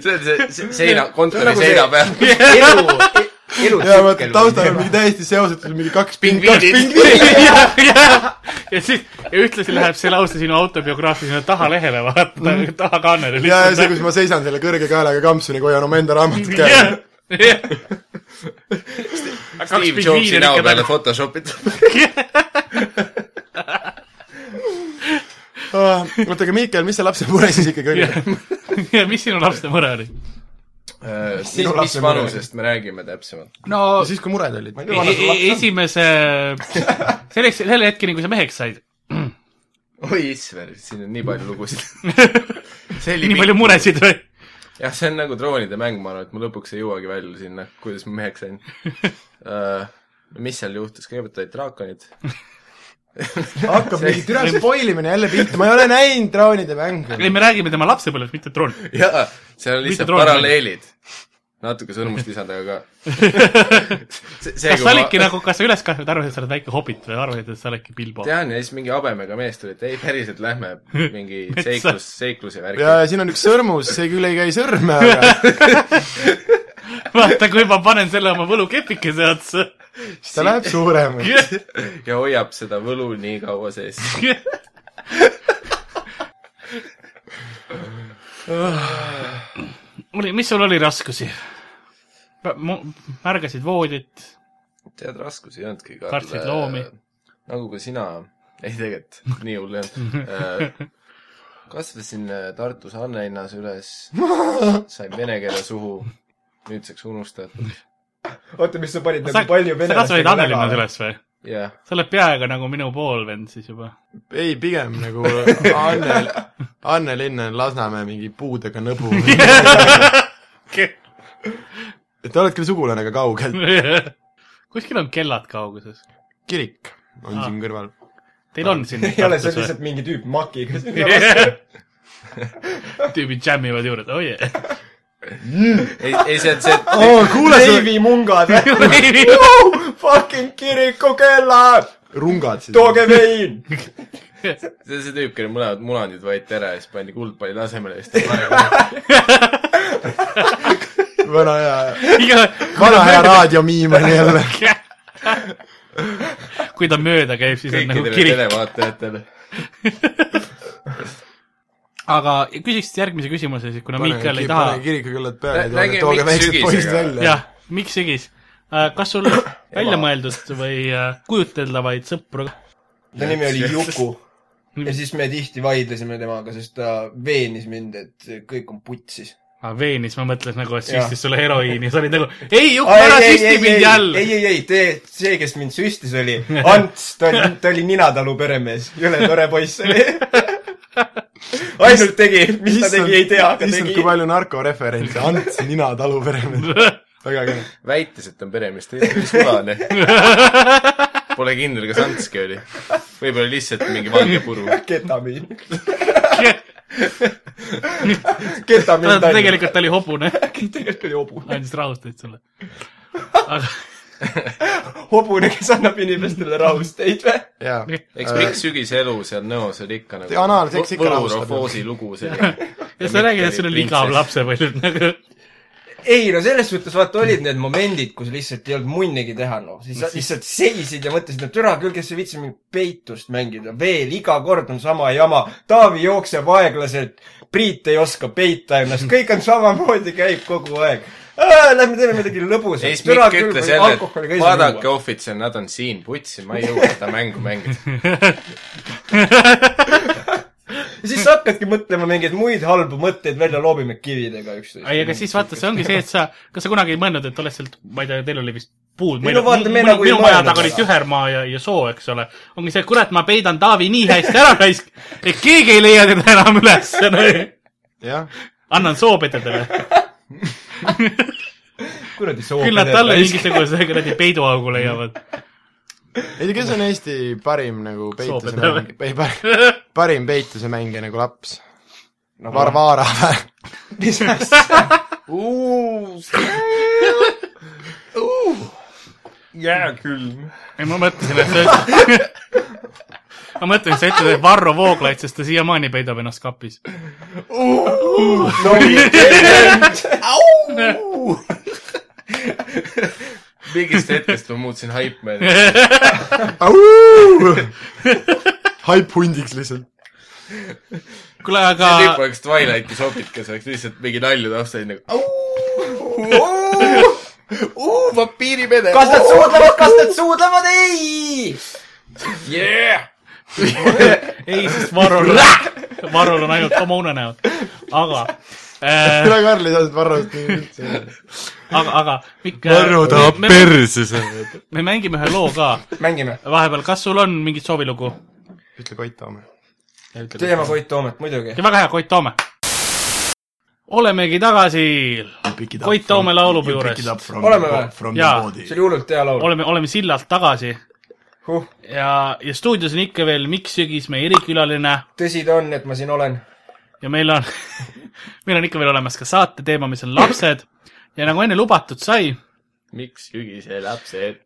E: see on see- see seina , kontori
G: nagu
E: seina
G: see-
E: peal .
G: elu , E-, elu
D: ja vaata taustal on mingi täiesti seosetud mingi kaks pingviini .
C: ja , ja , ja siis ja ühtlasi läheb see lause sinu autobiograafi sinna tahalehele , vaata , tahakaanele
D: Mm. ja , ja see , kus ma seisan selle kõrge kaelaga kampsuniga , hoian omaenda raamatut käes .
C: kaks
E: Steve Jobsi näo peale . photoshopitud .
D: Ah, oota , aga Miikel , mis see lapsepõlve siis ikkagi oli ?
C: ja mis sinu lapse mure oli ?
E: siis mis
D: lapse mure.
E: vanusest me räägime täpsemalt ?
C: no
D: siis , kui mured olid ?
C: esimese , e- selleks , selle hetkeni , kui sa meheks said .
E: oi issand , siin on nii palju lugusid .
C: nii palju muresid või ?
E: jah , see on nagu droonide mäng , ma arvan , et ma lõpuks ei jõuagi välja sinna , kuidas ma meheks sain uh, . mis seal juhtus , kõigepealt olid draakonid .
D: hakkab mingi türa spoilimine jälle pihta , ma ei ole näinud Draonide mängu .
C: ei , me räägime tema lapsepõlvest , mitte troonist .
E: jaa , seal on
C: Mitte
E: lihtsalt
C: droonid.
E: paralleelid . natuke sõrmust lisada ka .
C: kas sa olidki nagu , kas sa üles kasvanud , arvasid , et sa oled väike hobit või arvasid , et sa oledki Bilbo ?
E: tean ja siis mingi habemega mees tuli , et ei , päriselt lähme mingi
C: Metsa.
E: seiklus , seikluse värki .
D: ja , ja siin on üks sõrmus , see küll ei käi sõrme , aga
C: vaata , kui ma panen selle oma võlukepikese otsa .
D: siis ta läheb suuremaks .
E: ja hoiab seda võlu nii kaua sees .
C: oli , mis sul oli raskusi ? märgasid voodit ,
E: tead , raskusi ei olnudki .
C: Kartsid loomi. .
E: nagu ka sina , ei tegelikult nii hull ei olnud . kasvasin äh, Tartus Annelinnas üles , sain vene keele suhu , nüüdseks unustatud .
G: oota , mis sa panid
C: sa ,
G: nagu palju
C: sa kasvasid Annelinnas . üles või ?
E: jah ,
C: sa oled peaaegu nagu minu poolvend siis juba .
D: ei , pigem nagu Anne , Anne Linn on Lasnamäe mingi puudega nõbu . et te oled küll sugulane , aga kaugel .
C: kuskil on kellad kauguses .
D: kirik
C: Ah.
D: on siin kõrval .
C: Teil on siin
G: ei ole , see on lihtsalt mingi tüüp makiga .
C: tüübid Oh, džämmivad juurde , oi
E: ei , ei see on see ,
G: oo , kuule see . veivimungad ,
C: jah .
G: fucking kirikukellad ,
D: rungad siis .
G: tooge vein .
E: see on see tüüp , kellel mõlemad munandid võeti ära ja siis pandi kuldpalli asemele ja siis ta praegu
D: vana hea , vana hea raadiomiim on jälle .
C: kui ta mööda käib , siis on nagu
E: kõikidele
C: kirik .
E: televaatajatele .
C: aga küsiks järgmise küsimuse siis , kuna Miikal ei taha .
D: kirikukellad
E: Rää-
D: peale ,
E: räägime,
D: tooge
E: miks
D: väiksed
E: sügisega.
D: poisid välja .
C: jah , miks sügis ? kas sul väljamõeldud või äh, kujuteldavaid sõpru
G: ta nimi oli Juku . ja siis me tihti vaidlesime temaga , sest ta veenis mind , et kõik on putsis .
C: ah, veenis , ma mõtlesin nagu , et
G: Jah.
C: süstis sulle heroiini , sa olid nagu ei Juku , ära süsti mind jälle .
G: ei , ei , ei , tee , see , kes mind süstis , oli Ants , ta oli , ta oli Ninatalu peremees , jõle tore poiss oli . ainult tegi , mis ta tegi , ei tea , aga
D: issand , kui
G: tegi .
D: palju narkoreferentse , Ants Nina Talu peremees . väga kena .
E: väitis , et on peremees , tegelikult oli sulane . Pole kindel , kas Antski oli . võib-olla lihtsalt mingi valge puru
G: ketamiin ,
C: ta
G: ketamiin
C: ta tegelikult oli hobune ,
G: tegelikult oli hobune ,
C: andis rahusteid sulle . aga
G: hobune , kes annab inimestele rahusteid või ?
D: jaa .
E: eks miks sügiselu seal Nõos oli Äh, ikka nagu
D: See analseks ikka rahustab.
E: võlurofoosi lugu selline .
C: ja sa räägid , et sul oli igav . lapsepõlv nagu .
G: ei no selles suhtes vaata olid need momendid , kus lihtsalt ei olnud munnigi teha noh , siis sa lihtsalt seisid ja mõtlesid , et türa küll , kes ei viitsi mingit peitust mängida , veel iga kord on sama jama . Taavi jookseb aeglaselt , Priit ei oska peita ennast , kõik on samamoodi , käib kogu aeg . Lähme teeme midagi
E: ja siis
G: lõbusat .
E: Mikk ütles jälle , et vaadake ohvitser , nad on siin , putsi , ma ei jõua seda mängu mängida .
G: ja siis sa hakkadki mõtlema mingeid muid halbu mõtteid välja loobima kividega üksteist .
C: ei , aga siis vaata , see ongi see , et sa , kas sa kunagi ei mõelnud , et oled sealt , ma ei tea , teil oli vist puud ,
G: Ei
C: minu
G: no vaata, me
C: minu-
G: nagu ei
C: minu maja
G: mõelnud
C: taga olid
G: seda.
C: Jühermaa ja , ja Soo , eks ole . ongi see , et kurat , ma peidan Taavi nii hästi ära raisk , et keegi ei leia teda enam üles .
D: jah .
C: annan soopetedele ,
G: kuradi soov .
C: küll nad talle mingisuguse kuradi peiduaugu leiavad .
D: ei tea , kes on Eesti parim nagu peituse
C: Soopedele.
D: mängija , ei parim , parim peituse mängija nagu laps ? Varvara või ?
G: mis asja .
E: jää külm .
C: ei , ma mõtlesin , et sa ma mõtlen , et sa ütled , et Varro Vooglaid , sest ta siiamaani peidab ennast kapis .
E: mingist hetkest ma muutsin haipmeelt .
D: haip hundiks lihtsalt .
C: kuule , aga
E: see tüüp oleks Twilighti sopikas , oleks lihtsalt mingi nalju taustal nagu au , vampiirimede .
G: kas nad suudlevad , kas nad suudlevad , ei .
E: yeah! ?
C: ei , sest Varrol , Varrol on ainult oma unenäod . aga äh, ,
D: üle Karli saad Varrost nii üldse .
C: aga , aga Mikk .
B: Varro tahab . perse saada .
C: me mängime ühe loo ka
G: mängime .
C: vahepeal , kas sul on mingit soovilugu ?
D: ütle Koit Toome .
G: teema Koit Toomet muidugi .
C: ja väga hea , Koit Toome . olemegi tagasi Koit Toome laulupeo juures .
G: Oleme või?
C: Jaa.
G: see oli hullult hea laul .
C: oleme , oleme sillalt tagasi
G: Huh.
C: ja , ja stuudios on ikka veel Mikk Sügis , meie erikülaline
G: tõsi ta on , et ma siin olen .
C: ja meil on , meil on ikka veel olemas ka saate teema , mis on lapsed ja nagu enne lubatud sai
E: miks sügise lapsed ?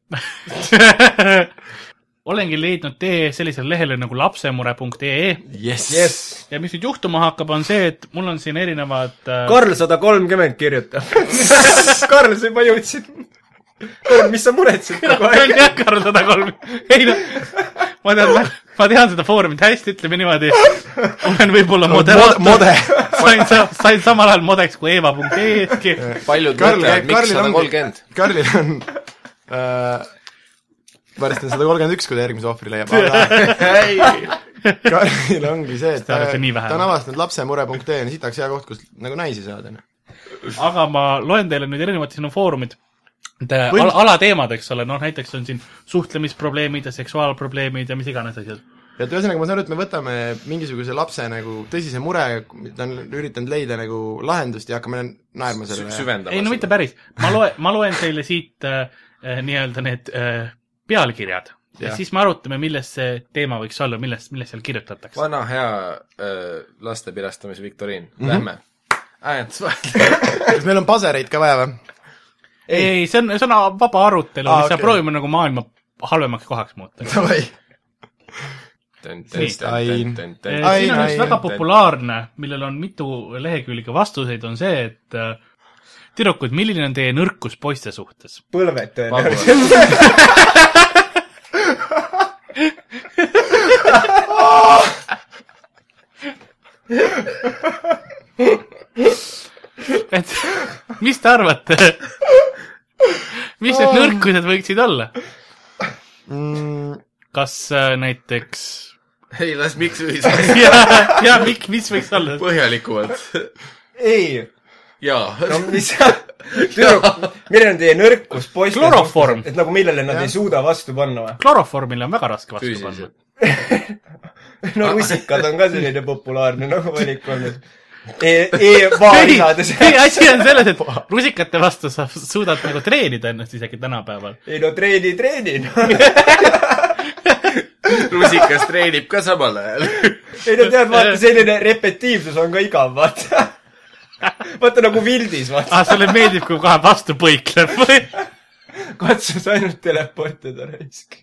C: olengi leidnud tee sellisele lehele nagu lapsemure.ee
G: jess .
C: E. ja mis nüüd juhtuma hakkab , on see , et mul on siin erinevad äh,
G: Karl sada kolmkümmend kirjutab . Karl , sa juba jõudsid . Karl , mis sa muretsed kogu
C: see on
G: aeg ?
C: jah Karl sada kolm , ei noh , ma tean , ma tean seda foorumit hästi , ütleme niimoodi . olen võib-olla moderaator ,
D: mode .
C: sain , sain samal ajal modeks kui E Eva.ee-ski .
E: paljud
D: Karl
E: mõtlevad ,, miks
D: Karlil
E: sada
D: on
E: kolmkümmend .,
D: Karlil on äh, , varsti on sada kolmkümmend üks , kui ta järgmise ohvri leiab , aga Karlil ongi see , et
C: Te
D: ta,
C: arvate nii vähe?
D: ta on avastanud lapsemure.ee ja sitaks hea koht , kus nagu naisi saada .
C: aga ma loen teile nüüd erinevad sinu foorumid . Al alateemad , eks ole , noh näiteks on siin suhtlemisprobleemid ja seksuaalprobleemid ja mis iganes asjad .
D: et ühesõnaga , ma saan aru , et me võtame mingisuguse lapse nagu tõsise mure , ta on üritanud leida nagu lahendust ja hakkame naerma sellele .
E: süvendama .
C: ei no mitte . päris , ma loen , ma loen teile siit äh, äh, nii-öelda need äh, pealkirjad ja, ja
D: Jah.
C: siis me arutame , millest see teema võiks olla , millest , millest seal kirjutatakse .
E: vana hea äh, laste pirastamise viktoriin , lähme .
D: kas meil on pasereid ka vaja või ?
C: ei , ei , see on , see on vaba arutelu ah, ,
D: Aa,
C: lihtsalt
D: okei.
C: okay. proovime nagu maailma halvemaks kohaks muuta .
D: Davai . Ain.
C: siin
D: Ai,
C: on
D: ai,
C: üks väga
D: ai.
C: populaarne , millel on mitu lehekülge vastuseid , on see , et äh, tüdrukud , milline on teie nõrkus poiste suhtes ?
G: põlved tõenäoliselt .
E: populaarne .
C: et mis te arvate ? mis need nõrkused võiksid olla ?
D: Mm,
C: kas äh, näiteks
E: ei , las miks ühiselt
C: ja , ja Mikk , mis võiks olla ?
E: põhjalikumalt .
G: ei ,
E: jaa .
G: no mis sa , tüdruk , milline on teie nõrkus poiste
C: Kloroform.
G: suhtes, et nagu millele nad ja. ei suuda vastu panna või ?
C: kloroformile on väga raske vastu panna
E: füüsiliselt ..
G: no rusikad on ka selline populaarne nagu valik olnud e, . E-vaa
C: ei ,
G: lisades .
C: ei asi on selles , et rusikate vastu sa suudad nagu treenida ennast isegi tänapäeval .
G: ei no treeni , treeni no. .
E: rusikas treenib ka samal ajal .
G: ei no tead , vaata selline repetiivsus on ka igav , vaata . vaata nagu Vildis , vaata .
C: aa , Ah, sulle meeldib , kui kohe vastu põikleb või ?
G: katsus ainult teleportida raisk .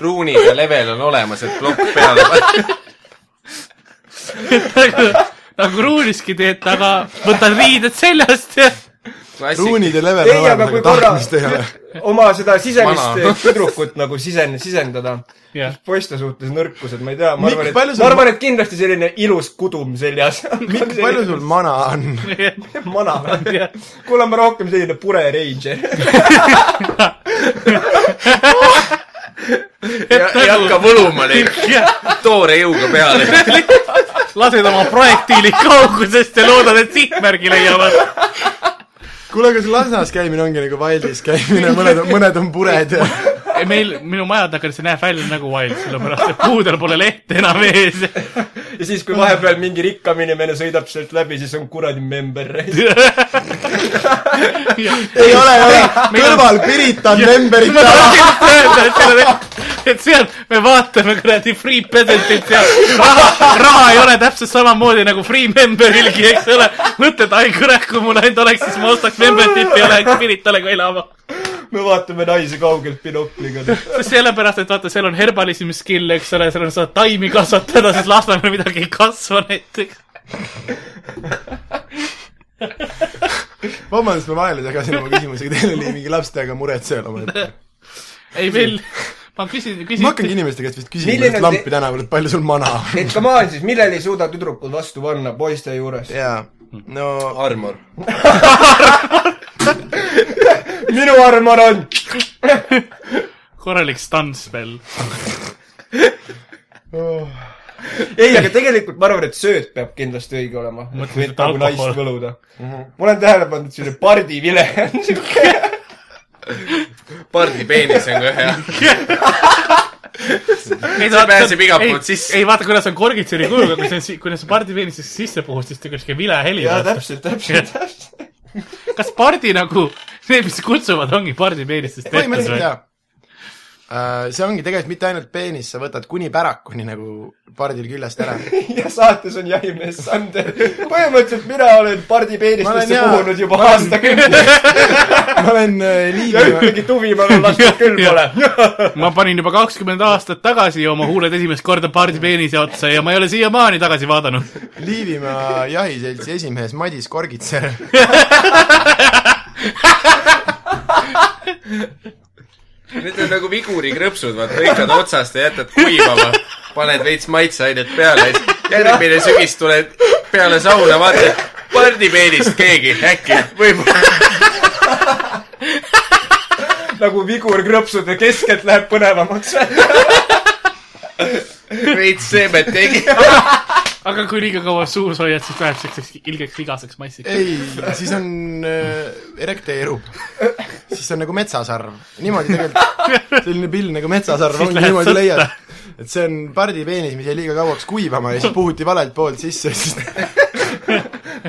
E: ruuniga level on olemas , et plokk peale panna .
C: nagu ruuniski teed , aga võtad riided seljast ja
D: ruunide level nagu
G: ei , aga kui korra , oma seda sisemist
D: Vana.
G: tüdrukut nagu sisen- , sisendada
C: jah .
G: poiste suhtes nõrkused , ma ei tea , ma
D: Mikk,
G: arvan ,
D: palju
G: et ,
D: sul-
G: ma arvan , et kindlasti selline ilus kudum seljas .
D: Mikk , palju sul mana on ?
G: mana või ? kuule , ma rohkem selline pure ranger .
E: ja ei hakka võluma neid toore jõuga peale .
C: lased oma projektiili kaugusest ja loodad , et sihtmärgi leiavad .
D: kuule , kas Lasnas käimine ongi nagu Wildis käimine , mõned , mõned on pured ja
C: ei meil , minu maja taga see näeb välja nagu wild , sellepärast et puudel pole lehte enam ees .
G: ja siis , kui vahepeal mingi rikkam inimene sõidab sealt läbi , siis on kuradi member .
D: ei ole , ei ole ,
C: Meil on-
D: kõrval Pirita memberid
C: ma
D: taha .
C: tahtsin just öelda , et seal on , et seal me vaatame kuradi free peasant'it ja raha , raha ei ole täpselt samamoodi nagu free member'ilgi , eks ole . mõtled , ai kurat , kui mul ainult oleks , siis ma ostaks member'it ja läheks Piritale ka elama .
G: me vaatame naisi kaugelt binokliga .
C: sellepärast , et vaata , seal on herbalism skill , eks ole , seal on , saad taimi kasvatada , siis Lasnamäel midagi ei kasva näiteks .
D: vabandust , ma vahele segasin oma küsimusega , teil oli mingi lapsega muretsejal omaette .
C: ei meil , ma küsin , küsin .
D: ma hakkangi inimeste käest vist küsima
G: Milline
D: pärast
G: on
D: lampi tänaval , et palju sul mana on .
G: et come on siis , millele ei suuda tüdrukud vastu panna poiste juures ?
D: jaa , no
E: armor .
G: minu armar on
C: korralik stuntspell .
G: ei , aga tegelikult ma arvan , et sööt peab kindlasti õige olema .
C: Mõtlesin, et
G: nagu naist
C: alkohol.
G: võluda . ma olen tähele pannud , et selline pardivile on siuke .
E: pardi peenis on ka hea .
C: see
E: pääseb igalt poolt sisse.
C: ei vaata , kuidas on korgitseri kujuga , kui see , kui see pardipeenis sisse puhus , siis tuli siuke vile heli .
G: jaa , täpselt , täpselt , täpselt .
C: kas pardi nagu , need , mis kutsuvad , ongi pardipeenistest tehtud
D: põhimõtteliselt
C: või ?
D: jaa . see ongi tegelikult mitte ainult peenis , sa võtad kuni pärakuni nagu pardil küljest ära .
G: ja saates on jahimees Sander . põhimõtteliselt mina
D: Ma
G: olen
D: olen
G: pardipeenistesse
D: jaa-
G: puhunud juba aastakümneid
D: ma olen äh,
G: ja
D: liigiga ,
G: ühtegi tuvi ma veel lastud küll
C: Jah.
G: pole .
C: ma panin juba kakskümmend aastat tagasi oma huuled esimest korda pardipeenise otsa ja ma ei ole siiamaani tagasi vaadanud .
D: Liivimaa jahiseltsi esimees Madis Korgitser .
E: Need on nagu vigurikrõpsud , vaata , lõikad otsast ja jätad kuivama , paned veits maitseainet peale , siis järgmine sügis tuled peale sauna , vaatad , pardipeenist keegi äkki , võib-olla .
G: nagu vigur krõpsude keskelt läheb põnevamaks .
E: veits seemet tegi .
C: aga kui liiga kaua suus hoiad , siis läheb siukseks ilgeks vigaseks massiks .
D: ei , siis on äh, , erekteerub . siis on nagu metsasarv . niimoodi tegelikult , selline pill nagu metsasarv
C: Siis
D: ongi ,
C: lähed
D: niimoodi
C: sõtta.
D: leiad . et see on pardipeenis , mis jäi liiga kauaks kuivama ja siis puhuti valelt poolt sisse , siis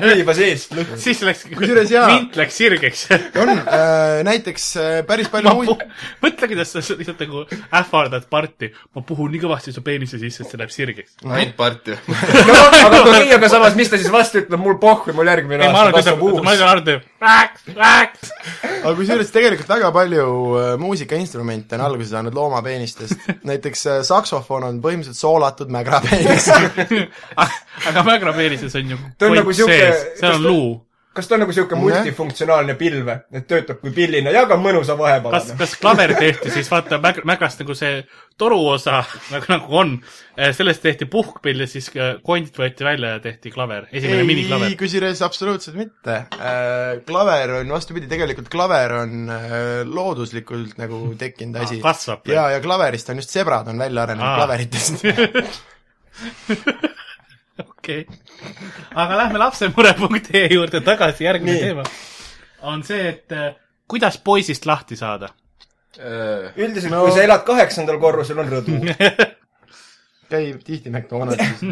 G: kuiva seest .
C: siis läks ,
D: Kusjuures jaa.
C: vint läks sirgeks .
D: on äh, näiteks äh, päris
C: ma
D: palju
C: puh-
D: muid ,,
C: mõtle , kuidas sa lihtsalt nagu ähvardad parti . ma puhun nii kõvasti su peenise sisse , et see läheb sirgeks .
E: ainult part ju .
G: no aga kui nii , aga samas , mis ta siis vastu ütleb , mul pohhu , mul järgmine
C: ei , ma arvan ,
G: aasta
C: et ta ,
G: kasvab uus
C: ma . arvan , et Hardo teeb rääks , rääks .
D: aga kusjuures tegelikult väga palju äh, muusikainstrumente on alguse saanud loomapeenistest . näiteks äh, saksofon on põhimõtteliselt soolatud mägrapeenis .
C: Ah, aga mägrapeenises on ju
G: Ta on
C: koit
G: nagu siuke-
C: sees , seal on
G: kas ta-
C: luu .
G: kas ta on nagu siuke multifunktsionaalne pilve , et töötab kui pillina ja ka mõnusa
C: kas ,
G: vahepalana ?
C: kas klaver tehti siis vaata mäg- , mägrast nagu see toruosa nagu , nagu on , sellest tehti puhkpill ja siis äh, kondid võeti välja ja tehti klaver , esimene
D: ei ,
C: miniklaver .
D: kusjuures absoluutselt mitte äh, . klaver on , vastupidi , tegelikult klaver on äh, looduslikult nagu tekkinud asi .
C: Ah, kasvab Ah. või?
D: ja , ja klaverist on just sebrad on välja
C: Aa.
D: arenenud klaveritest .
C: okei , aga lähme lapsemure.ee juurde tagasi , järgmine
G: Nii.
C: teema on see , et äh, kuidas poisist lahti saada .
G: üldiselt no. , kui sa elad kaheksandal korrusel , on rõdu .
D: käib tihti McDonaldsis .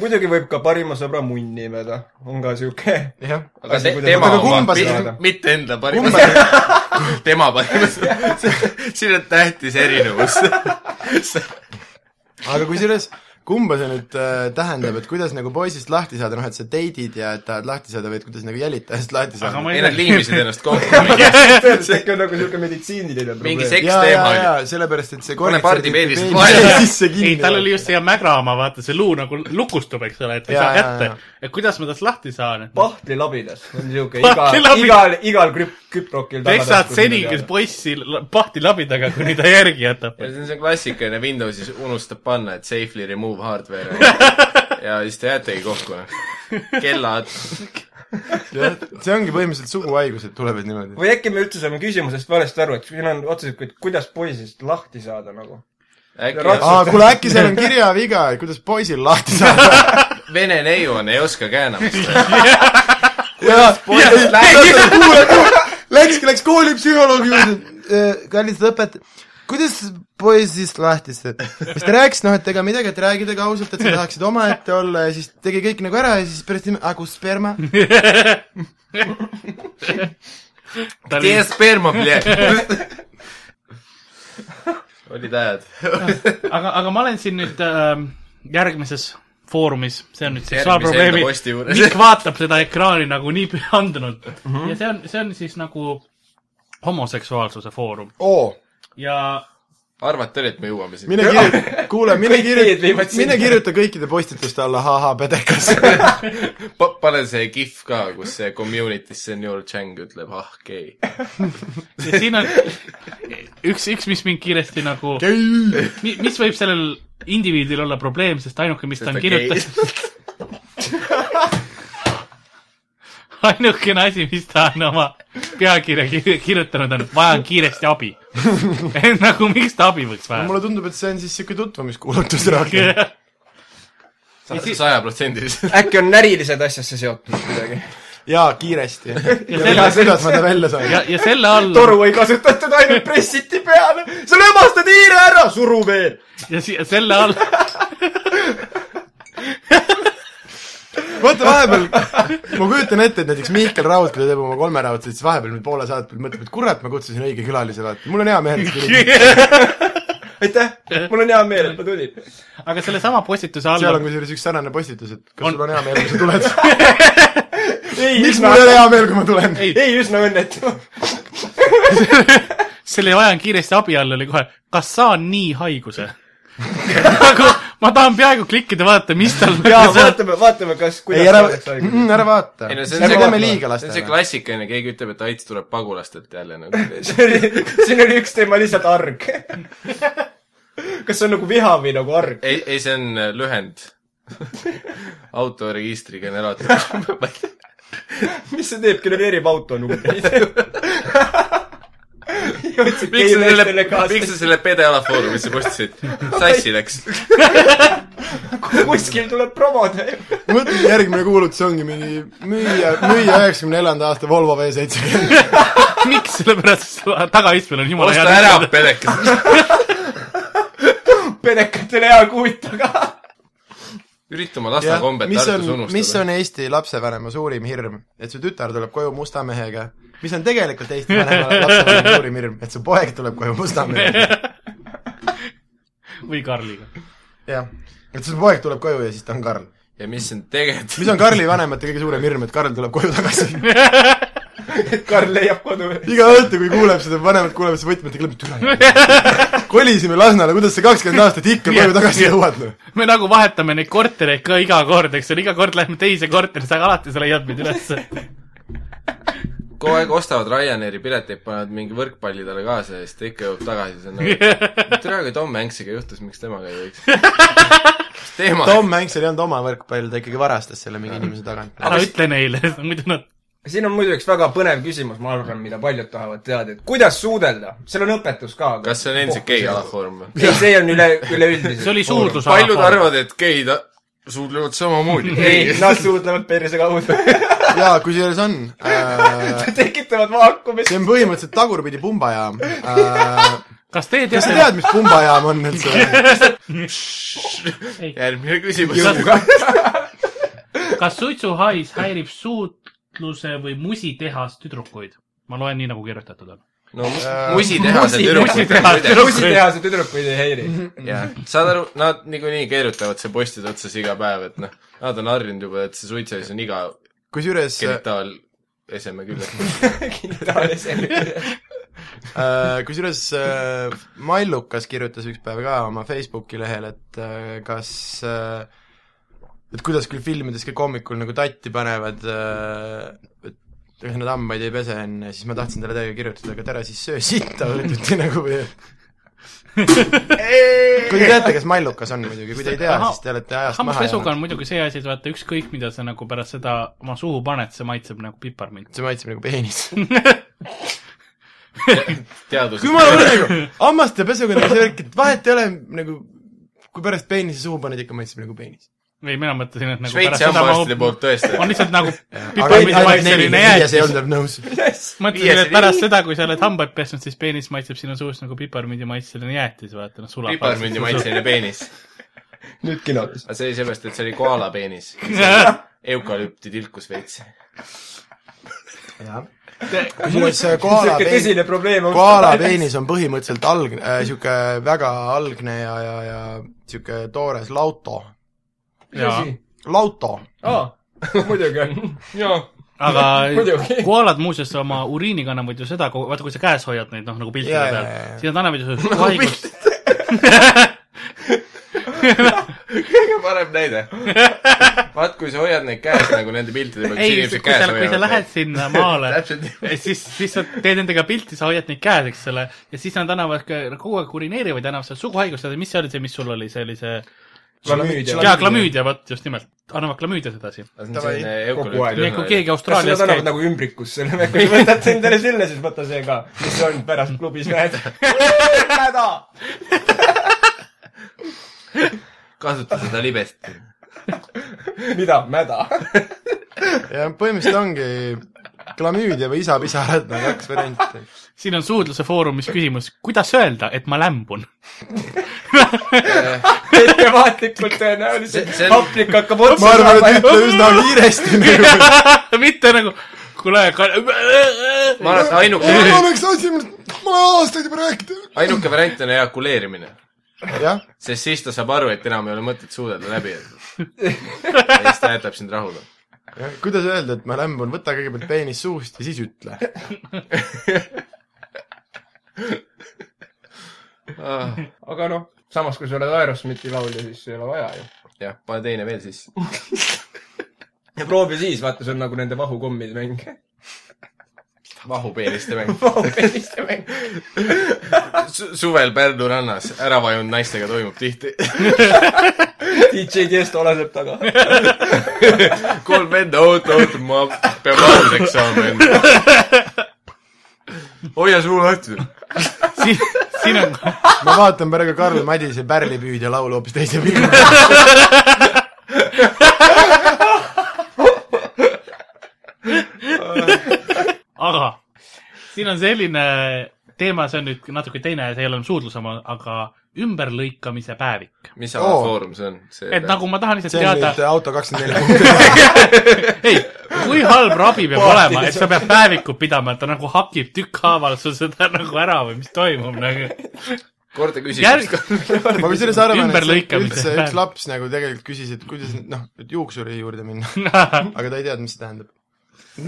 G: muidugi võib ka parima sõbra munni imeda , on ka siuke .
D: jah .
E: aga see
G: Aga
E: tema
D: kumba
E: oma
D: sa- ,
E: mitte enda parim , tema parim . siin on tähtis erinevus .
D: aga kusjuures , kumba see nüüd äh, tähendab , et kuidas nagu poisist lahti saada , noh et sa date'id ja et tahad lahti saada või et kuidas nagu jälitajast lahti
C: aga
D: saada ?
C: ma
E: ei ,
C: ei
E: nad
C: tea .
E: liimisid ennast kokku .
G: see on ikka nagu siuke meditsiiniline
E: mingi
G: probleem .
D: jaa ,
E: seksteema
D: jaa ,
E: oli .
D: jaa , sellepärast et see
E: Pane pardi peedist vahele.
C: ei , tal oli
D: vahele .
C: just see mägra oma , vaata see luu nagu lukustub , eks ole , et ta ei
D: Jaa,
C: saa
D: jaa,
C: kätte . et kuidas ma tast lahti saan , et
G: pahtlilabidas on siuke igal ,
C: Pahtlilabidas.
G: igal , igal krüp- , küprokil
C: peksad seni , kes poissi l- pahti labi taga , kuni ta järgi jätab
E: ja . see on see klassikaline Windowsis unustab panna , et safely remove hardware . ja siis te jäätegi kokku . kellad .
D: see ongi põhimõtteliselt suguhaigused tulevad niimoodi .
G: või äkki me üldse saame küsimusest valesti aru , et siin on otseselt , et kuidas poisist lahti saada nagu .
E: äkki
D: aa , kuule äkki seal on kirjaviga , et kuidas poisil lahti saada .
E: vene neiu on , ei oska käänamist .
D: Läkski , läks koolipsühholoogi juurde , kallis õpetaja , kuidas poisist lahti saad ? siis ta rääkis , noh , et ega midagi , et räägid ega ausalt , et sa tahaksid omaette olla ja siis tegi kõik nagu ära ja siis pärast nime- , aga kus sperma ?
E: tee sperma , olid ajad .
C: aga , aga ma olen siin nüüd äh, järgmises foorumis , see on nüüd
E: Järgmise enda
C: seksuaalprobleemi
E: posti juures.
C: Mikk vaatab seda ekraani nagu nii pühendunud mm .
D: Mhm.
C: -hmm. ja see on , see on siis nagu homoseksuaalsuse foorum
D: oo ,
C: ja
E: arvate oli , et me jõuame sinna ?
D: mine kirjuta , kuule , mine
G: teed
D: kirjuta
G: viivad ,
D: mine kirjuta kõikide postituste alla ha-ha pedekas .
E: Pa- , pane see kihv ka , kus see community senior Chang ütleb ah gei .
C: ja siin on üks , üks , mis mind kiiresti nagu , mis võib sellel indiviidil olla probleem , sest ainuke , mis ta on kirjutanud , ainukene asi , mis ta on oma pealkirja kir- kirjutanud , on vajan kiiresti abi . nagu miks ta abi võiks vaja ?
D: mulle tundub , et see on siis siuke tutvumiskuulutus rohkem .
E: sajaprotsendiliselt .
G: äkki on närilised asjasse seotud kuidagi ?
D: jaa , kiiresti . ja
C: selle-
D: kuidas kuidas ma ta välja
C: ja
D: sain ?,
C: ja selle all ,
G: toru ei kasutatud , ainult pressiti peale . sa lömastad hiire ära , suru veel .
C: ja si- , selle all ,
D: vaata vahepeal , ma kujutan ette , et näiteks Mihkel Raud , kui ta teeb oma kolmeraudseid , siis vahepeal nüüd poole saate peal mõtleb , et kurat , ma kutsusin õige külalise , vaata , mul on hea meel , et tuli .
G: aitäh , mul on hea meel , et ma tulin .
C: aga sellesama postituse
D: seal
C: all
D: on , kusjuures üks sarnane postitus , et kas
C: On.
D: on. sul on hea meel , kui sa tuled .
G: ei ,
D: miks
G: üsna
D: mul ei , ole hea meel , kui ma tulen ?
G: ei üsna õnnetu .
C: selle vajan kiiresti abi all oli kohe , kas saan nii haiguse ? nagu ma tahan peaaegu klikkida , vaadata , mis tal
G: ja vaatame , vaatame , kas ,
D: ei ,
G: kuidas
D: ära
G: oleks , haiglas .
D: ära vaata .
E: Ei no see on
D: ärme
E: see-
D: teeme
E: see
D: liiga
E: on see
D: lastele .
E: klassikaline , keegi ütleb , et Aits tuleb pagulastelt jälle nagu .
G: siin oli üks teema lihtsalt arg . kas see on nagu viha või nagu arg ?
E: ei , ei see on äh, lühend . autoregistri generaator .
G: mis see teeb , genereerib autonumbreid ?
E: miks sa selle , miks sa selle PD-ala foorumisse postisid ? sassi läks .
G: kuskil tuleb promoda ju .
D: mõtle , järgmine kuulutus ongi mingi müüja , müüja üheksakümne neljanda aasta Volvo V seitsekümmend .
C: miks , sellepärast et tagaistmel on jumala
E: osta ära , pedekas .
G: penekatele hea kuut , aga
E: ürita oma lastekombet
D: mis
E: Tartus
D: on , mis
E: unustada .
D: on Eesti lapsevanema suurim hirm , et su tütar tuleb koju musta mehega , mis on tegelikult Eesti vanema lapsevanema suurim hirm , et su poeg tuleb koju musta mehega ,
C: või Karliga .
D: jah . et su poeg tuleb koju ja siis ta on Karl .
E: ja mis on tegelikult
D: mis on Karli vanemate kõige suurem hirm , et Karl tuleb koju tagasi .
G: Karl leiab kodu .
D: iga õhtu , kui kuuleb seda , vanemad kuulevad seda võtmet ja kõlab , türa . kolisime Lasnale , kuidas sa kakskümmend aastat ikka koju tagasi jõuad , noh .
C: me nagu vahetame neid kortereid ka iga kord , eks ole , iga kord lähme teise korterisse , aga alati sa leiad meid ülesse .
E: kogu aeg ostavad Ryanairi pileteid , panevad mingi võrkpalli talle kaasa ja siis ta ikka jõuab tagasi , siis on nagu , tere , aga Tom Hanksiga juhtus , miks temaga ei võiks ? mis teema ?
D: Tom Hanks ei olnud oma võrkpall , ta ikkagi varastas selle mingi inimese tagant .
C: ära ütle neile , muidu nad ,
G: siin on muidu üks väga põnev küsimus , ma arvan , mida paljud tahavad teada , et kuidas suudelda , seal on õpetus ka .
E: kas see on endiselt
G: Oh,
E: gei ? alafoorm või ?
G: ei , see on üle , üleüldiselt .
C: see oli . suudlus .
E: paljud . arvavad , et geid a- suudlevad samamoodi .
G: ei , nad suudlevad perse kaudu ,
D: jaa , kusjuures on äh, ,
G: tekitavad vaakumit
D: see . on põhimõtteliselt tagurpidi pumbajaam äh, .
C: kas teie
D: kas sa
C: teate ,
D: tead , mis pumbajaam on üldse ?
E: järgmine küsimus .
C: kas suitsuhais häirib suutluse või musitehas tüdrukuid ? ma loen nii , nagu kirjutatud on .
G: no mis
E: musitehase tüdrukud on
C: musitehase
E: muide .
G: bussitehase tüdrukuid ei häiri .
D: Mhm.
E: jah , saad aru , nad niikuinii keerutavad see postide otsas iga päev , et noh , nad on harjunud juba , et see suitsuis on iga
D: kusjuures äh,
E: genitaaleseme küljes .
D: kusjuures äh, Mallukas kirjutas üks päev ka oma Facebooki lehel , et äh, kas äh, et kuidas küll filmides ka kommikul nagu tatti panevad äh, , et ega nad hambaid ei pese enne , siis ma tahtsin talle täiega kirjutada , aga tere siis söö sitta , ütlete nagu või kui te teate , kes Mallukas on muidugi , kui te ei tea , siis te olete ajast maha
C: hambapesuga on muidugi see asi , et vaata ükskõik , mida sa nagu pärast seda oma suhu paned , see maitseb nagu piparmint .
D: see maitseb nagu peenis .
E: teadus .
D: jumala hull nagu , hammaste pesuga on nagu see värk , et vahet ei ole nagu , kui pärast peenise suhu paned , ikka maitseb nagu peenis .
C: ei , mina mõtlesin , et nagu
E: Šveitsi hambaarstide
C: ma-
E: poolt tõesti .
C: on lihtsalt nagu
D: aga ainult-
C: piparmindi
D: ainult
C: maitse
D: neli ,
C: selline
D: viies ei
C: jäätis .
D: olnud nõus .
C: mõtlesin , et pärast seda , kui sa oled hambaid pesnud , siis peenis maitseb sinu suust nagu piparmindi maitse selline jäätis , vaata , noh sulab .
E: piparmündi . maitseline peenis .
G: nüüd kinodes .
E: aga see oli seepärast , et see oli koala peenis . eukalüpti tilkus veits .
D: kusjuures see äh, koala
G: sihuke
D: peenis ,
G: tõsine probleem on .
D: koala peenis on põhimõtteliselt algne äh, , sihuke väga algne ja , ja , ja sihuke toores lauto .
C: jaa ,
D: lauto .
G: aa , muidugi on . jaa .
C: aga
G: Muidugi.
C: koalad muuseas oma uriini kannavad ju seda , vaata kui sa käes hoiad neid , noh nagu piltide
D: Jaa, jaa,
C: peal siis
D: jaa. , Nagu
C: nad annavad ju sulle haigust .
E: kõige parem näide . vaat kui sa hoiad neid käes nagu nende piltide peal ,
C: ei , kui sa , kui sa lähed . sinna maale
E: Täpselt nii. ,
C: siis , siis sa teed nendega pilti , sa hoiad neid käes , eks ole , ja siis nad annavad ka- kogu aeg urineerivad ja annavad sulle suguhaigust , mis see oli see , mis sul oli , see oli see
G: klamüüdia .
C: jaa , klamüüdia , vot just nimelt , annavad klamüüdias edasi .
G: Kogu aeg.
E: eukalüpti
C: nii et kui
E: lõhna .
C: keegi
G: kas
C: Austraalias
G: nad annavad
C: käib ,
G: nagu ümbrikus selle või , kui võtad endale selle , siis võta see ka , mis see on pärast klubis näed . häda .
E: kasuta seda libest .
G: mida , mäda ?
D: ja põhimõtteliselt ongi klamüüdia või isapisarad , need kaks varianti .
E: nagu-
C: siin on suudluse foorumis küsimus , kuidas öelda , et ma lämbun ?
G: ettevaatlikult tõenäoliselt
E: See- see on-
G: hapnik hakkab otsa
D: ma arvan , et
G: saama .
D: ütle üsna kiiresti nagu .
C: mitte nagu , kuule ,
E: ma arvan , et ainuke ,
D: mul oleks asi , ma olen aastaid juba rääkinud .
E: ainuke variant on eakuleerimine .
D: jah ,
E: sest siis ta saab aru , et enam ei ole mõtet suudelda läbi . ja siis ta jätab sind rahule .
D: kuidas öelda , et ma lämbun , võta kõigepealt peenis suust ja siis ütle .
E: Ah,
G: aga noh , samas kui sa oled Aerosmithi laulja , siis ei ole vaja ju .
E: jah , pane teine veel sisse .
G: ja proovi siis , vaata , see on nagu nende vahukommide mäng .
E: vahupeeniste mäng .
G: vahupeeniste mäng .
E: Su- suvel Pärnu rannas ära vajunud naistega toimub tihti .
G: DJ Tiesto laseb taga .
E: kolm venda , oota , oota , ma pean valvseks saama enda . hoia suu lahti .
C: siin , siin on ,
D: ma vaatan praegu Karl Madise pärlipüüdja laulu hoopis teise pilguga .
C: aga siin on selline teema , see on nüüd natuke teine , see ei ole enam suudlus oma , aga ümberlõikamise päevik .
E: mis
D: ala
E: ala
D: Oo.
E: foorum see on ?
C: et nagu ma tahan lihtsalt
D: see on
C: teada
D: nüüd , auto kakskümmend neli punkti .
C: ei , kui halb rabi peab olema , et sa pead päevikut pidama , et ta nagu hakib tükkhaaval sul seda nagu ära või mis toimub nagu .
E: korda küsimus
C: järg-
E: ka .,
D: ma kusjuures arvan , et
C: Ümberlõikamise
D: üldse
C: päev.
D: üks laps nagu tegelikult küsis , et kuidas noh , et juuksuri juurde minna , aga ta ei teadnud , mis see tähendab .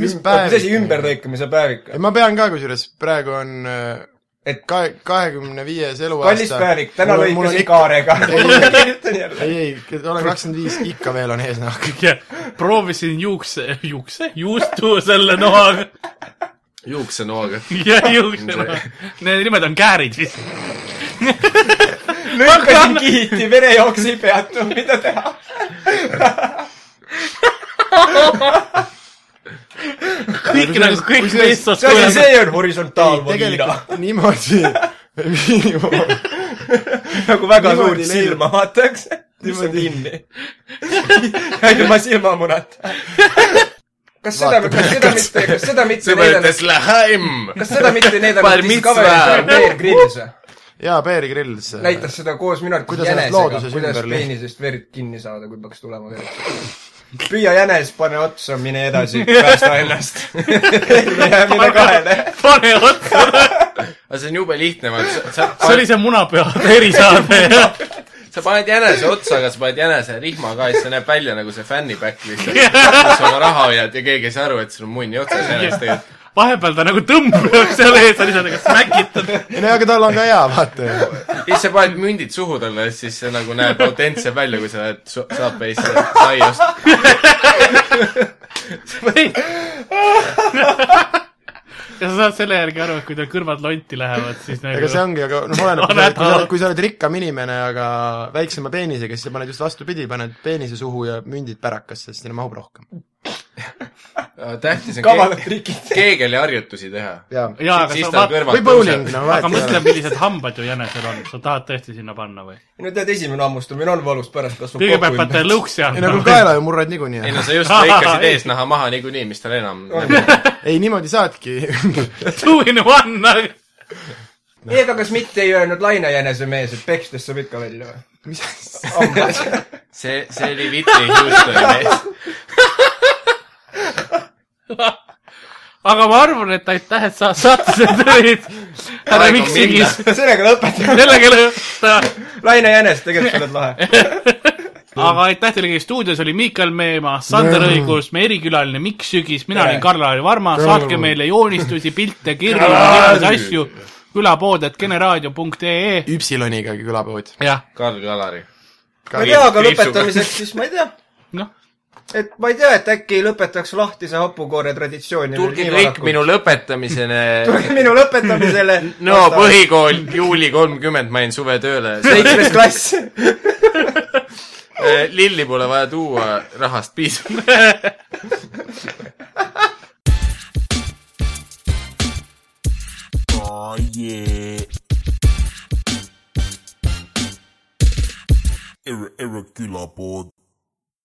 D: mis päev ?
G: mis asi ? ümberlõikamise päevik on ?
D: ma pean ka kusjuures , praegu on äh,
G: Et-
D: kahe , kahekümne viies
G: kallis
D: eluaasta .
G: päevik , täna lõikasin . kaarega . kirjutan jälle .
D: ei , ei , olen kakskümmend viis , ikka veel on eesnahk .
C: proovisin juukse , juukse , juustu selle noaga
E: juuksenoaga .
C: ja juukse noaga . Need nimed on käärid vist .
G: lõikasin kihiti , verejooks ei peatunud , mida teha ?
C: kõik nagu kõik meest
G: see asi ,
C: oskavad .
G: see on horisontaalvagina .
D: tegelikult niimoodi niimoodi-
G: nagu väga
D: niimoodi
G: suurt
D: leiab-
G: silma vaadatakse , mis on
D: niimoodi-
G: kinni . ilma silmamunata . kas seda ,
D: Vaata
G: kas seda mitte , kas seda mitte näidanud ,
E: sõbrandes lähem .
G: kas seda mitte
E: Bar
G: näidanud
E: nagu mitzvah.
G: Discovery Bear Grylls või ?
D: jaa , äh, Bear Grylls .
G: näitas seda koos minu arvates
D: Kuidas ennast
G: jänesega ,
D: looduses
G: kuidas
D: ümber lõi-
G: peenisest verd kinni saada , kui peaks tulema verd . püüa jänes , pane otsa , mine edasi , päästa ennast . jää mine kahele .
C: pane otsa .
E: aga see on jube lihtne , vaata , sa ,
C: see oli see munapeade erisaade , jah .
E: sa paned jänese otsa , aga sa paned jänese rihma ka ja siis see näeb välja nagu see fännipäkk lihtsalt . sa oma raha hoiad ja keegi ei saa aru , et sul on munni otsas jänes tegelikult .
C: vahepeal ta nagu tõmbleb seal ees , sa lihtsalt nagu smäkitad .
D: ei no aga tal on ka hea , vaata ju .
E: ja siis sa paned mündid suhu talle ja siis see nagu näeb autentse välja , kui sa lähed su- Subway'sse saiast .
C: ja sa saad selle järgi aru , et kui tal kõrvad lonti lähevad , siis nagu
D: ega see ongi , aga noh , oleneb , kui sa oled , kui sa oled , kui sa oled rikkam inimene , aga väiksema peenisega , siis sa paned just vastupidi , paned peenise suhu ja mündid pärakasse , sest sinna mahub rohkem .
E: Äh, tähtis on
G: kavalad
E: keeg-
G: trikid .
E: keegeliharjutusi teha .
D: jaa .
C: jaa , aga
E: siis
C: sa
E: tal
C: vaata ,
E: kõrvad
D: või bowling , no
C: aga
D: vahet ei
C: mõtle ,
D: ole .
C: millised hambad ju jänesel on , sa tahad tõesti sinna panna või ?
G: no tead , esimene hammustamine on valus , pärast kasvab
C: kõigepealt paned talle . lõuksi
D: ei no
E: nagu
C: alla
D: kui . kaela ju murrad niikuinii
E: ei no
D: ära .
E: sa just lõikasid eesnaha maha niikuinii , mis tal enam .
D: ei , niimoodi saadki .
C: Two in one , nagu- aga
G: ei , aga kas mitte ei öelnud Laine Jänese mees , et pekstes saab ikka välja või ?
D: mis asja ?
G: hambad .
E: see , see oli Whitney Houstoni mees .
C: aga ma arvan , et aitäh , et sa saatused olid härra
E: Aeg on
C: Miksingis ,
G: sellega lõpetame .
C: sellega lõpetame .
G: Laine Jänes , tegelikult sa oled lahe .
C: aga aitäh teile , kes stuudios oli , Miikal Meemaa , Sander Õigus , meie erikülaline Mikk Sügis , mina olen Karl-Lari Varma , saatke meile joonistusi , pilte , kirju , igasuguseid asju külapood , et generaadio.ee
D: üpsiloniga külapood .
C: jah ,
E: Karl Kalari .
G: ma ei tea , aga
E: kriipsuga.
G: lõpetamiseks siis ma ei tea .
C: noh ,
G: et ma ei tea , et äkki lõpetaks lahti see hapukoore traditsioon .
E: tulge kõik minu . lõpetamisele .
G: tulge minu lõpetamisele .
E: no . põhikool , juuli kolmkümmend , ma jäin suvetööle .
G: seitsmes klass .
E: Äh, lilli pole vaja tuua , rahast piisab .
A: Oh yeah. Ir- irregular board.